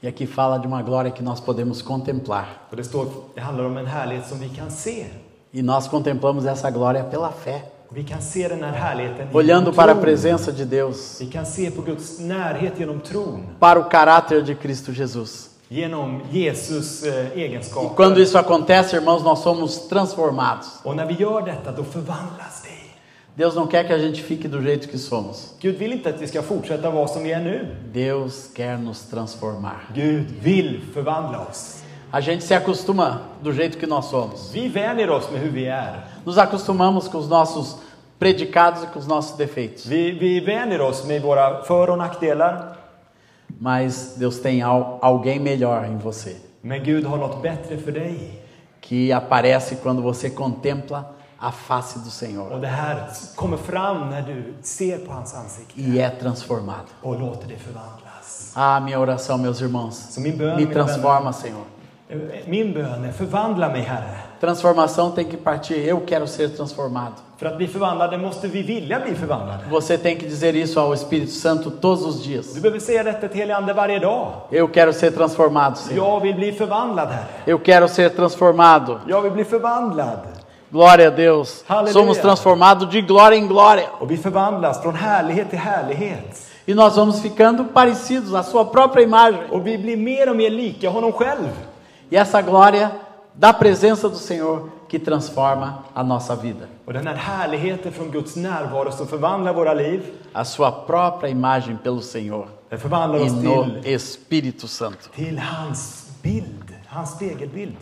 S1: E aqui fala de uma glória que nós podemos contemplar.
S2: Och det, står, det handlar om en härlighet som vi kan se.
S1: E nós contemplamos essa glória pela fé,
S2: Vi kan se den här härligheten genom
S1: olhando para a
S2: tron.
S1: presença de Deus,
S2: Vi kan se på Guds närhet genom tron.
S1: para o caráter de Cristo Jesus.
S2: genom Jesus eh,
S1: E
S2: egenskaper.
S1: quando isso acontece, irmãos, nós somos transformados.
S2: Och när vi gör detta, då förvandlas vi.
S1: Deus não quer que a gente fique do jeito que somos.
S2: Gud vill inte att vi ska fortsätta vara som vi är nu.
S1: Deus quer nos transformar.
S2: Gud vill förvandla oss.
S1: A gente se acostuma do jeito que nós somos.
S2: Vi vänjer oss med hur vi är.
S1: Nos acostumamos com os nossos predicados e com os nossos defeitos.
S2: Vi, vi vänjer oss med våra för och nackdelar.
S1: Mas Deus tem al- alguém melhor em você
S2: Men Gud har något bättre för dig.
S1: que aparece quando você contempla a face do Senhor
S2: Och det här kommer fram när du ser på hans ansikte
S1: e é transformado.
S2: och låter det förvandlas.
S1: Ah, minha oração, meus irmãos,
S2: Så min
S1: me
S2: bön, mina
S1: transforma, Senhor.
S2: vänner, min bön är förvandla mig Herre.
S1: Transformação tem que partir. Eu quero ser transformado.
S2: För att bli förvandlade måste vi vilja bli förvandlade.
S1: Você tem que dizer isso ao Espírito Santo todos os
S2: Du
S1: dias.
S2: behöver säga detta till helige Ande varje dag.
S1: Eu quero ser transformado, Senhor.
S2: Jag vill bli förvandlad Herre.
S1: Eu quero ser transformado.
S2: Jag vill bli förvandlad.
S1: Glória a Deus.
S2: Aleluia.
S1: Somos transformados de glória em glória.
S2: Och vi förvandlas från härlighet till härlighet.
S1: E nós vamos ficando parecidos à sua própria imagem.
S2: Och vi blir mer och mer lika honom själv.
S1: E essa glória da presença do Senhor que transforma a nossa vida.
S2: Och den här härligheten från Guds närvaro som förvandlar våra liv,
S1: A sua própria imagem pelo Senhor
S2: den förvandlar
S1: e
S2: oss
S1: no
S2: till,
S1: Espírito Santo.
S2: till hans bild, hans spegelbild.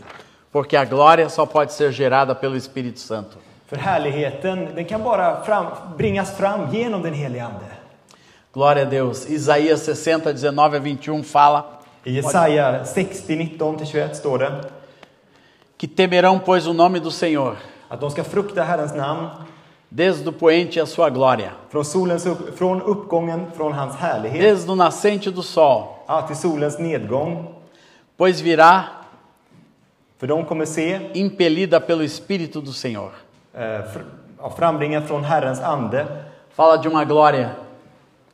S1: Porque a glória só pode ser gerada pelo Espírito Santo.
S2: För härligheten, den kan bara fram, bringas fram genom den helige Ande.
S1: Glória a Deus. Isaías 60, 19 a 21 fala
S2: I Jesaja 60, 19-21 står det
S1: que temerão, pois, o nome do Senhor,
S2: att de ska frukta Herrens namn
S1: desde o poente a sua glória,
S2: från, solens upp, från uppgången från hans härlighet
S1: desde o nascente do sol,
S2: ja, till solens nedgång.
S1: pois virá
S2: För de kommer se
S1: impelida pelo Espírito do Senhor.
S2: eh, fr, ja, frambringat från Herrens ande.
S1: Fala de uma glória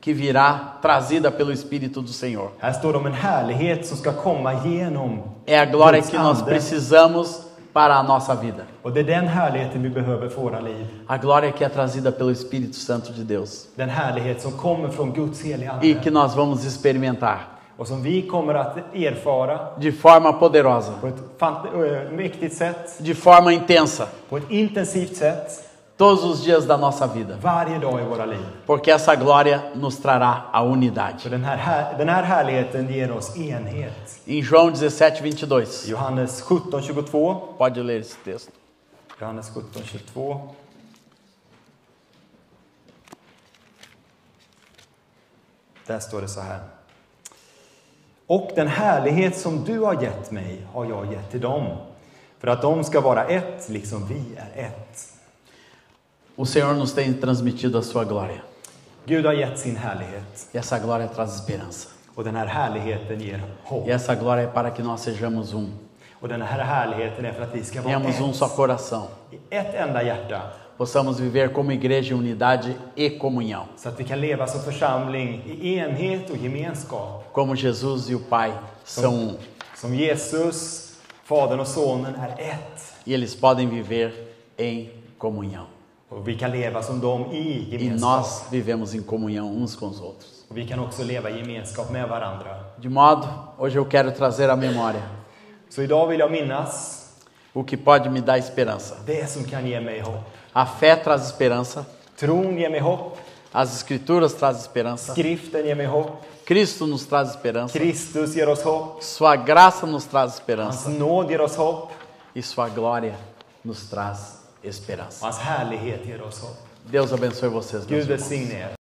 S1: que virá trazida pelo Espírito do Senhor.
S2: Här står det om en härlighet som ska komma genom
S1: É a glória
S2: Guds
S1: que nós
S2: ande.
S1: precisamos para a nossa vida.
S2: Och det är den härligheten vi behöver för våra liv.
S1: A glória que é trazida pelo Espírito Santo de Deus
S2: Den härlighet som kommer från Guds heliga
S1: e
S2: Ande.
S1: que nós vamos experimentar
S2: Och som vi kommer att erfara
S1: de forma poderosa,
S2: på ett fant- ö, mäktigt sätt,
S1: de forma intensa,
S2: på ett intensivt sätt,
S1: todos os dias da nossa vida,
S2: varje dag i våra liv.
S1: porque essa glória nos trará a
S2: För
S1: unidade.
S2: den här, här, den här härligheten ger oss enhet.
S1: Em João 17, 22,
S2: Johannes 17.22.
S1: pode ler esse texto.
S2: Johannes 17.22. Där står det så här. Och den härlighet som du har gett mig har jag gett till dem, för att de ska vara ett, liksom vi är ett.
S1: O Senhor nos tem transmitido a sua glória.
S2: Gud har gett sin härlighet,
S1: E essa glória traz esperança.
S2: och den här härligheten ger hopp.
S1: E essa glória é para que nós sejamos um.
S2: Och den här härligheten är för att vi ska vara
S1: Tenhamos um só
S2: ett,
S1: coração.
S2: i ett enda hjärta,
S1: Possamos viver como igreja em unidade e comunhão.
S2: så att vi kan leva som församling i enhet och gemenskap.
S1: Como Jesus e o Pai são um.
S2: Som Jesus, Fadern och Sonen är ett.
S1: E eles podem viver em comunhão.
S2: Och vi kan leva som dem i
S1: E
S2: gemenskap.
S1: nós vivemos em comunhão uns com os outros.
S2: Och vi kan också leva i gemenskap med varandra.
S1: De modo, hoje eu quero trazer à memória
S2: Så idag vill jag minnas
S1: o que pode me dar esperança.
S2: det som kan ge mig hopp.
S1: A fé traz esperança,
S2: Tron ger mig hopp.
S1: as escrituras traz esperança,
S2: Skriften ger mig hopp.
S1: Cristo nos traz esperança,
S2: Kristus ger oss hopp.
S1: sua graça nos traz esperança
S2: Hans nåd ger oss hopp.
S1: e sua glória nos traz esperança.
S2: Hans härlighet ger oss hopp.
S1: Deus abençoe vocês. meus
S2: Gud
S1: irmãos.
S2: välsigne er.